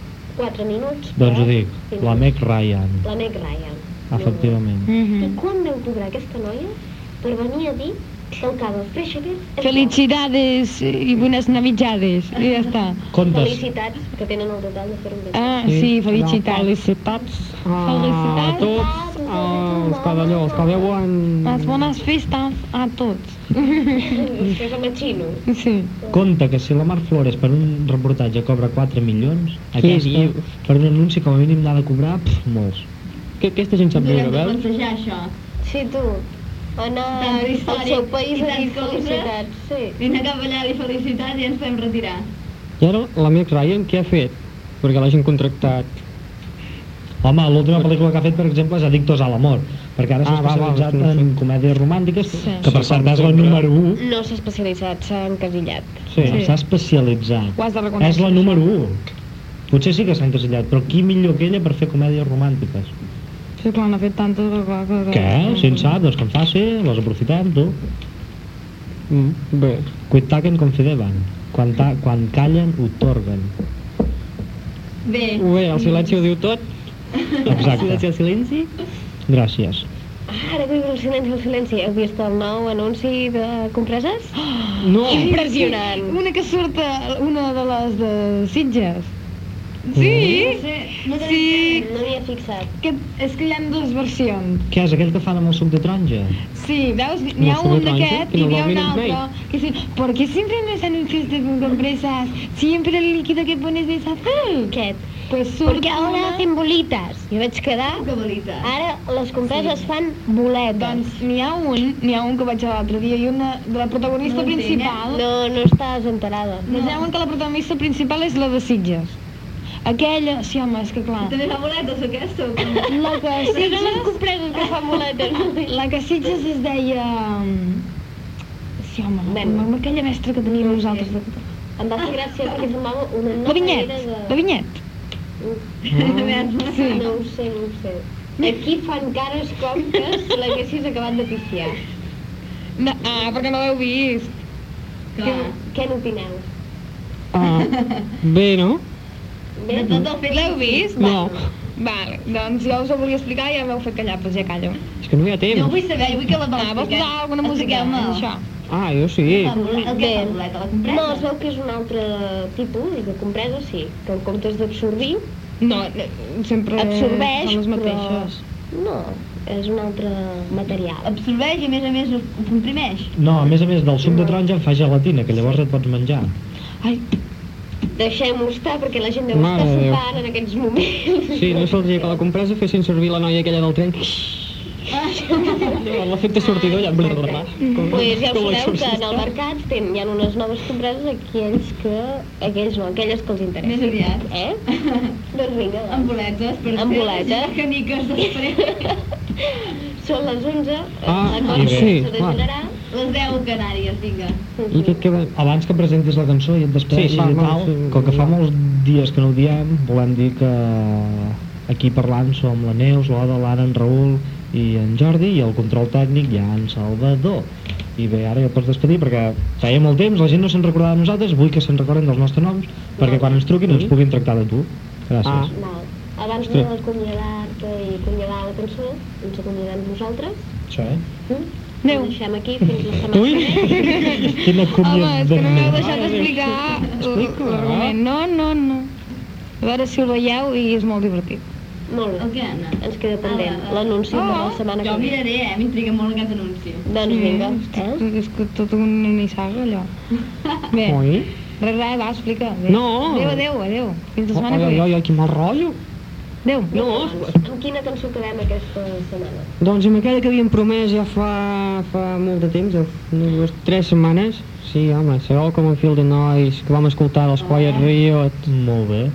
[SPEAKER 2] 4 minuts.
[SPEAKER 1] Doncs ho
[SPEAKER 2] per-
[SPEAKER 1] dic,
[SPEAKER 2] Fins-
[SPEAKER 1] la Meg Ryan,
[SPEAKER 2] La Meg Ryan.
[SPEAKER 1] efectivament.
[SPEAKER 2] I
[SPEAKER 3] Mhm.
[SPEAKER 2] quan deu cobrar aquesta noia per venir a dir que el cava freixenet... és
[SPEAKER 3] Felicidades i bones navidades. I ja està.
[SPEAKER 2] bo?
[SPEAKER 1] Contes,
[SPEAKER 2] Felicitats, que tenen el total de fer un bé.
[SPEAKER 3] Ah, sí,
[SPEAKER 6] No,
[SPEAKER 3] felicitats.
[SPEAKER 6] felicitats a
[SPEAKER 3] Felicitats.
[SPEAKER 6] Ah, tots els cavallers que veuen...
[SPEAKER 3] Les bones festes a tots.
[SPEAKER 2] Això és el matxino.
[SPEAKER 3] Sí.
[SPEAKER 1] conta que si la Mar Flores per un reportatge cobra 4 milions, aquesta
[SPEAKER 6] dius?
[SPEAKER 1] per un anunci com a mínim n'ha de cobrar pf, molts.
[SPEAKER 6] Que aquesta gent sap viure,
[SPEAKER 8] Durem de
[SPEAKER 6] veus?
[SPEAKER 8] plantejar això.
[SPEAKER 2] Sí, tu. Anar
[SPEAKER 8] Tant
[SPEAKER 2] al
[SPEAKER 8] històric
[SPEAKER 2] seu país
[SPEAKER 8] i
[SPEAKER 2] a
[SPEAKER 8] tant
[SPEAKER 2] dir
[SPEAKER 8] cosa.
[SPEAKER 2] felicitats. Sí.
[SPEAKER 8] I anar cap allà i felicitar i ens fem retirar.
[SPEAKER 6] I ara l'amic Ryan què ha fet? Perquè l'hagin contractat.
[SPEAKER 1] Home, l'última pel·lícula que ha fet, per exemple, és Addictos a l'amor, perquè ara s'ha
[SPEAKER 6] Ah, va, va,
[SPEAKER 1] especialitzat
[SPEAKER 6] sí, sí.
[SPEAKER 1] en comèdies romàntiques,
[SPEAKER 3] Sí.
[SPEAKER 1] que per
[SPEAKER 6] Sí,
[SPEAKER 1] cert
[SPEAKER 6] com
[SPEAKER 1] és la
[SPEAKER 6] sempre.
[SPEAKER 1] número 1.
[SPEAKER 2] No s'ha especialitzat, s'ha encasillat.
[SPEAKER 1] Sí,
[SPEAKER 3] Sí.
[SPEAKER 1] s'ha especialitzat.
[SPEAKER 3] Ho has de
[SPEAKER 1] És
[SPEAKER 3] reconèixer.
[SPEAKER 1] la número 1. Potser sí que s'ha encasillat, però qui millor que ella per fer comèdies romàntiques?
[SPEAKER 3] Sí, clar, n'ha fet tantes, però clar, que... que-
[SPEAKER 1] Què? Si en sap, doncs que en faci, les aprofitem, tu.
[SPEAKER 6] Mm, bé.
[SPEAKER 1] Quan taquen, confideban. Quan, ta quan callen, otorguen.
[SPEAKER 8] Bé,
[SPEAKER 6] Bé, el silenci ho diu tot. El silenci,
[SPEAKER 1] Exacte.
[SPEAKER 6] el silenci.
[SPEAKER 1] Gràcies.
[SPEAKER 2] Ara que dius el silenci, el silenci. Heu vist el nou anunci de compreses?
[SPEAKER 6] No!
[SPEAKER 2] Oh, Impressionant.
[SPEAKER 3] Una que surt a una de les de Sitges. Sí?
[SPEAKER 8] no sé, no tenim
[SPEAKER 3] Sí,
[SPEAKER 2] No m'hi he fixat.
[SPEAKER 3] que, és que hi ha dues versions.
[SPEAKER 1] Què és, aquell que fan amb el suc de taronja?
[SPEAKER 3] Sí, veus, n'hi ha
[SPEAKER 6] No se
[SPEAKER 3] un
[SPEAKER 6] ve tan
[SPEAKER 3] d'aquest
[SPEAKER 6] que
[SPEAKER 3] i
[SPEAKER 6] no
[SPEAKER 3] n'hi ha
[SPEAKER 6] lo
[SPEAKER 3] un
[SPEAKER 6] miren
[SPEAKER 3] altre.
[SPEAKER 6] mai.
[SPEAKER 3] Que sí, porque siempre en los anuncios de compresas, siempre el líquido que pones es azul.
[SPEAKER 2] Aquest.
[SPEAKER 3] Pues surt
[SPEAKER 2] Perquè ara
[SPEAKER 3] una...
[SPEAKER 2] fem bolites. Jo vaig quedar...
[SPEAKER 8] Que bonita.
[SPEAKER 2] Ara les compreses fan boletes.
[SPEAKER 3] Doncs n'hi ha un, n'hi ha un que vaig a l'altre dia i una de la
[SPEAKER 8] No
[SPEAKER 3] protagonista
[SPEAKER 8] entenc,
[SPEAKER 3] principal...
[SPEAKER 2] eh? No, no estàs enterada.
[SPEAKER 3] Doncs hi ha un que la protagonista principal és la de Sitges. Aquella, sí home, és que clar...
[SPEAKER 8] També fa boletes aquesta o com?
[SPEAKER 3] La que a
[SPEAKER 2] Sí, no les
[SPEAKER 3] Sitges,
[SPEAKER 2] compreses que fan boletes.
[SPEAKER 3] la que a Sitges es deia... um, Sí home,
[SPEAKER 2] Bueno.
[SPEAKER 3] amb aquella mestra que teníem nosaltres de
[SPEAKER 2] Em va fer gràcia perquè semblava una
[SPEAKER 3] La
[SPEAKER 2] nova
[SPEAKER 3] Vinyet,
[SPEAKER 2] era de...
[SPEAKER 3] la Vinyet.
[SPEAKER 8] Mm.
[SPEAKER 2] Sí. No ho sé, no ho sé. Aquí fan cares com que si l'haguessis acabat de pifiar.
[SPEAKER 3] No, ah, perquè no l'heu vist.
[SPEAKER 2] Què,
[SPEAKER 8] Clar.
[SPEAKER 2] què n'opineu?
[SPEAKER 6] Ah, bé, no?
[SPEAKER 2] Bé? doncs
[SPEAKER 8] De tot el fet...
[SPEAKER 3] L'heu vist?
[SPEAKER 6] No.
[SPEAKER 3] Vale, doncs jo us ho volia explicar i ja m'heu fet callar, doncs ja callo.
[SPEAKER 6] És que no hi ha
[SPEAKER 8] Jo ho
[SPEAKER 6] temps.
[SPEAKER 8] vull saber, jo vull que la
[SPEAKER 3] Va,
[SPEAKER 8] Paula
[SPEAKER 3] vols
[SPEAKER 8] expliqui.
[SPEAKER 3] posar alguna música?
[SPEAKER 8] Expliqueu-me.
[SPEAKER 3] Això.
[SPEAKER 6] Ah, jo sí.
[SPEAKER 8] La boleta, el que és la boleta, la
[SPEAKER 2] No, es
[SPEAKER 8] compresa?
[SPEAKER 2] veu que és un altre tipus, i que compresa sí, que en comptes d'absorbir,
[SPEAKER 3] No, no, sempre
[SPEAKER 2] absorbeix,
[SPEAKER 3] són les mateixes.
[SPEAKER 2] però... No, és un altre material.
[SPEAKER 8] Absorbeix i a més a més ho comprimeix.
[SPEAKER 1] No, a més a més del suc de taronja en fa gelatina, que llavors et pots menjar.
[SPEAKER 3] Ai,
[SPEAKER 2] Deixem-ho estar perquè la gent deu
[SPEAKER 6] Mare
[SPEAKER 2] estar
[SPEAKER 6] de Déu.
[SPEAKER 2] sopant en aquests moments.
[SPEAKER 6] Sí, no se'ls que la compresa fessin servir la noia aquella del tren.
[SPEAKER 2] Ah.
[SPEAKER 6] L'efecte sortidor ja... Blablabla.
[SPEAKER 2] Pues ja
[SPEAKER 6] Com
[SPEAKER 2] ho sabeu que en
[SPEAKER 6] l'exorcista.
[SPEAKER 2] el mercat ten, hi ha unes noves compreses aquells que... aquells no, aquelles que els
[SPEAKER 8] Més
[SPEAKER 2] interessen.
[SPEAKER 8] aviat.
[SPEAKER 2] Eh? doncs vinga,
[SPEAKER 8] Amb
[SPEAKER 2] doncs.
[SPEAKER 8] boletes, per
[SPEAKER 2] Amb
[SPEAKER 8] fer
[SPEAKER 2] boletes.
[SPEAKER 8] les caniques després.
[SPEAKER 2] Són les 11,
[SPEAKER 6] Ah,
[SPEAKER 2] la cosa
[SPEAKER 6] sí,
[SPEAKER 2] s'ha de
[SPEAKER 6] clar.
[SPEAKER 2] generar.
[SPEAKER 8] Les 10 canàries, vinga.
[SPEAKER 6] I què et queda?
[SPEAKER 1] Abans que presentis la cançó i et despedeixis
[SPEAKER 6] Sí, sí,
[SPEAKER 1] i
[SPEAKER 6] no,
[SPEAKER 1] tal,
[SPEAKER 6] sí.
[SPEAKER 1] com que fa molts dies que no ho diem, volem dir que aquí parlant som la Neus, l'Oda, l'Anna, en Raül i en Jordi i el control tècnic hi ha en Salvador. I bé, ara ja et pots despedir perquè feia molt temps, la gent no se'n recordava de nosaltres, vull que se'n recorden dels nostres noms perquè quan ens truquin ens puguin tractar de tu.
[SPEAKER 6] Ah.
[SPEAKER 1] Gràcies.
[SPEAKER 2] Val. Abans
[SPEAKER 6] Ostres.
[SPEAKER 2] d'acomiadar-te i acomiadar la cançó, ens acomiadem nosaltres.
[SPEAKER 3] Ah.
[SPEAKER 1] Això, eh?
[SPEAKER 2] Mm? Adéu. Deixem aquí fins la setmana
[SPEAKER 6] Ui!
[SPEAKER 2] que
[SPEAKER 1] Quina
[SPEAKER 3] Home,
[SPEAKER 2] ve.
[SPEAKER 3] és que no m'heu
[SPEAKER 1] acomiadament.
[SPEAKER 3] deixat explicar l'argument. No, no, no. A veure si el veieu i és molt divertit.
[SPEAKER 2] Molt
[SPEAKER 8] El
[SPEAKER 2] bé.
[SPEAKER 8] què, Anna?
[SPEAKER 2] Ens queda pendent.
[SPEAKER 8] Ah, va, va.
[SPEAKER 2] L'anunci per la
[SPEAKER 3] Oh,
[SPEAKER 2] setmana
[SPEAKER 8] Jo
[SPEAKER 2] que ve.
[SPEAKER 8] miraré, eh? M'intriga molt aquest anunci.
[SPEAKER 2] Doncs vinga. Eh?
[SPEAKER 3] És que tot un nissaga, allò. Bé,
[SPEAKER 6] Oi?
[SPEAKER 3] res, res, va, explica. Bé.
[SPEAKER 6] No.
[SPEAKER 3] Adéu, adéu, adéu. Fins
[SPEAKER 6] Oi,
[SPEAKER 3] la setmana
[SPEAKER 6] oi,
[SPEAKER 3] que ve.
[SPEAKER 6] oi, oi, quin mal rotllo.
[SPEAKER 3] Adéu.
[SPEAKER 6] No,
[SPEAKER 2] Ah? Amb quina cançó acabem aquesta setmana?
[SPEAKER 6] doncs amb aquella que havíem promès ja fa, fa molt de temps, ja unes dues, tres setmanes. Sí, home, sabeu com a fil de nois que vam escoltar dels Quiet Riot,
[SPEAKER 1] Molt bé.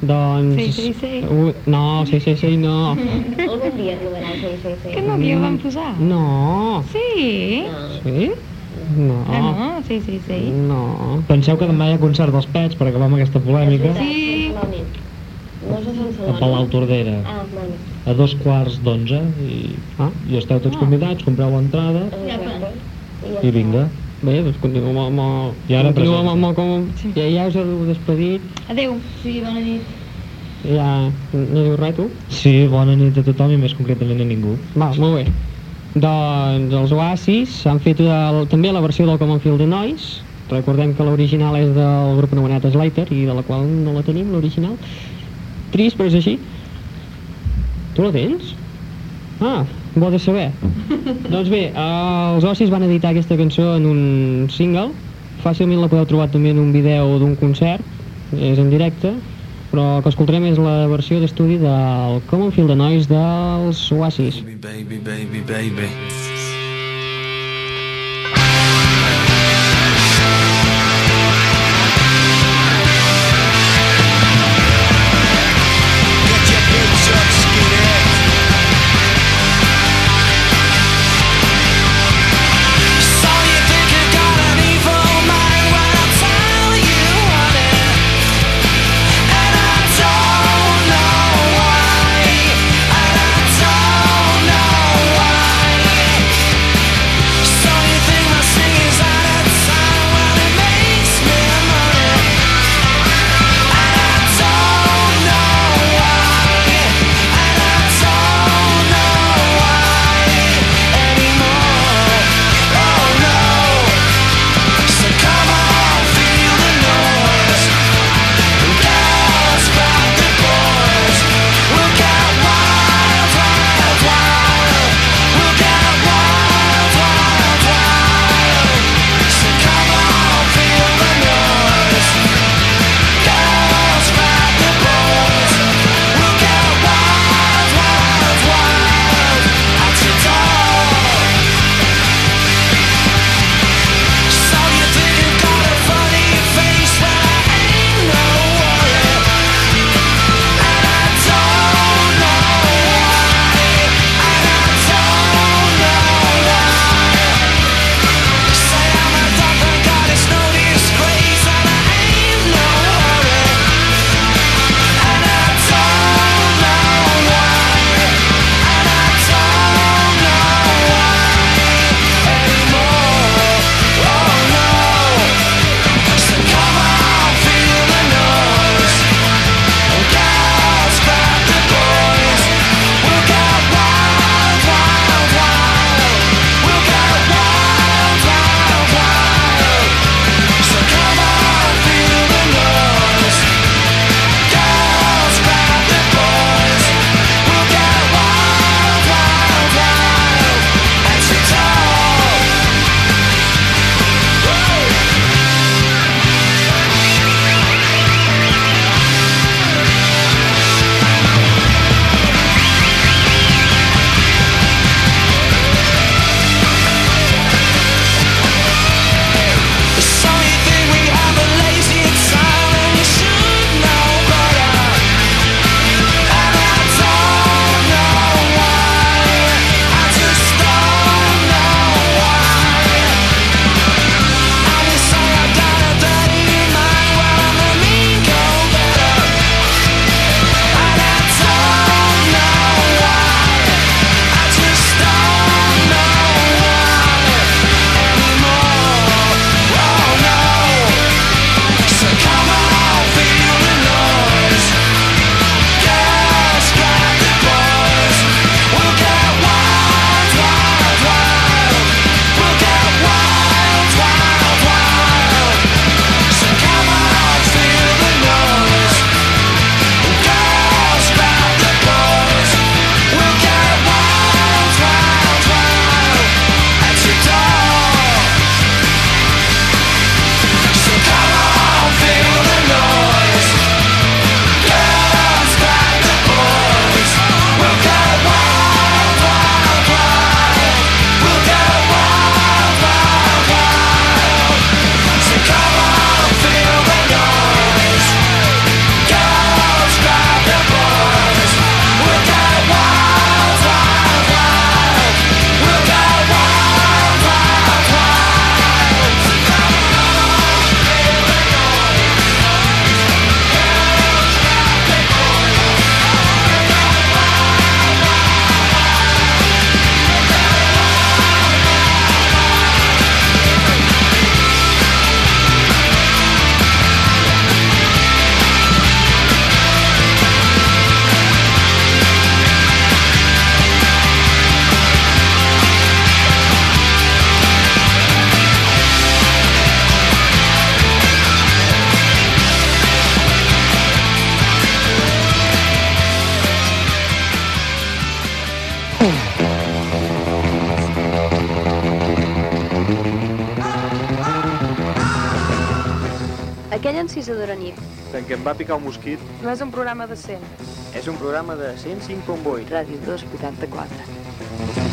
[SPEAKER 6] doncs...
[SPEAKER 3] Ah. Sí, sí, sí.
[SPEAKER 6] Ui, no, sí, sí, sí, no.
[SPEAKER 2] Algun dia arribarà el 666.
[SPEAKER 3] Que no havia van posar?
[SPEAKER 6] Mm. No.
[SPEAKER 3] Sí.
[SPEAKER 6] Sí? No.
[SPEAKER 3] Ah, no? Sí, sí, sí.
[SPEAKER 6] No.
[SPEAKER 1] Penseu que demà hi ha concert dels Pets per acabar amb aquesta polèmica
[SPEAKER 3] Sí.
[SPEAKER 2] No és a Sant
[SPEAKER 1] a Palau
[SPEAKER 2] Celoni?
[SPEAKER 1] Tordera.
[SPEAKER 2] Ah, molt bé.
[SPEAKER 1] a dos quarts d'onze i,
[SPEAKER 6] Ah.
[SPEAKER 1] i esteu tots convidats, compreu l'entrada
[SPEAKER 2] Exacte. ja
[SPEAKER 1] i
[SPEAKER 2] està.
[SPEAKER 1] vinga.
[SPEAKER 6] Bé, doncs continuem amb... el-
[SPEAKER 1] I ara
[SPEAKER 6] continuem
[SPEAKER 1] presenta.
[SPEAKER 6] amb el com... Ja, ja us heu despedit,
[SPEAKER 3] Adéu.
[SPEAKER 8] Sí, bona nit.
[SPEAKER 6] ja no diu res, tu?
[SPEAKER 1] Sí, bona nit a tothom i més concretament a ningú.
[SPEAKER 6] Va, molt bé. Doncs els Oasis han fet el, també la versió del Common Field de Noise. Recordem que l'original és del grup anomenat Slater i de la qual no la tenim, l'original. Trist, però és així. Tu la tens? Ah, bo de saber. doncs bé, eh, els Oasis van editar aquesta cançó en un single. Fàcilment la podeu trobar també en un vídeo d'un concert, és en directe, però el que escoltarem és la versió d'estudi del Common Field de Noise dels Oasis.
[SPEAKER 10] Baby, baby, baby, baby.
[SPEAKER 9] Why? And I don't know why.
[SPEAKER 3] Aquella encisa d'Urania.
[SPEAKER 1] En què em va picar un mosquit.
[SPEAKER 3] No és un programa de 100.
[SPEAKER 1] És un programa de 105.8.
[SPEAKER 3] Ràdio 284.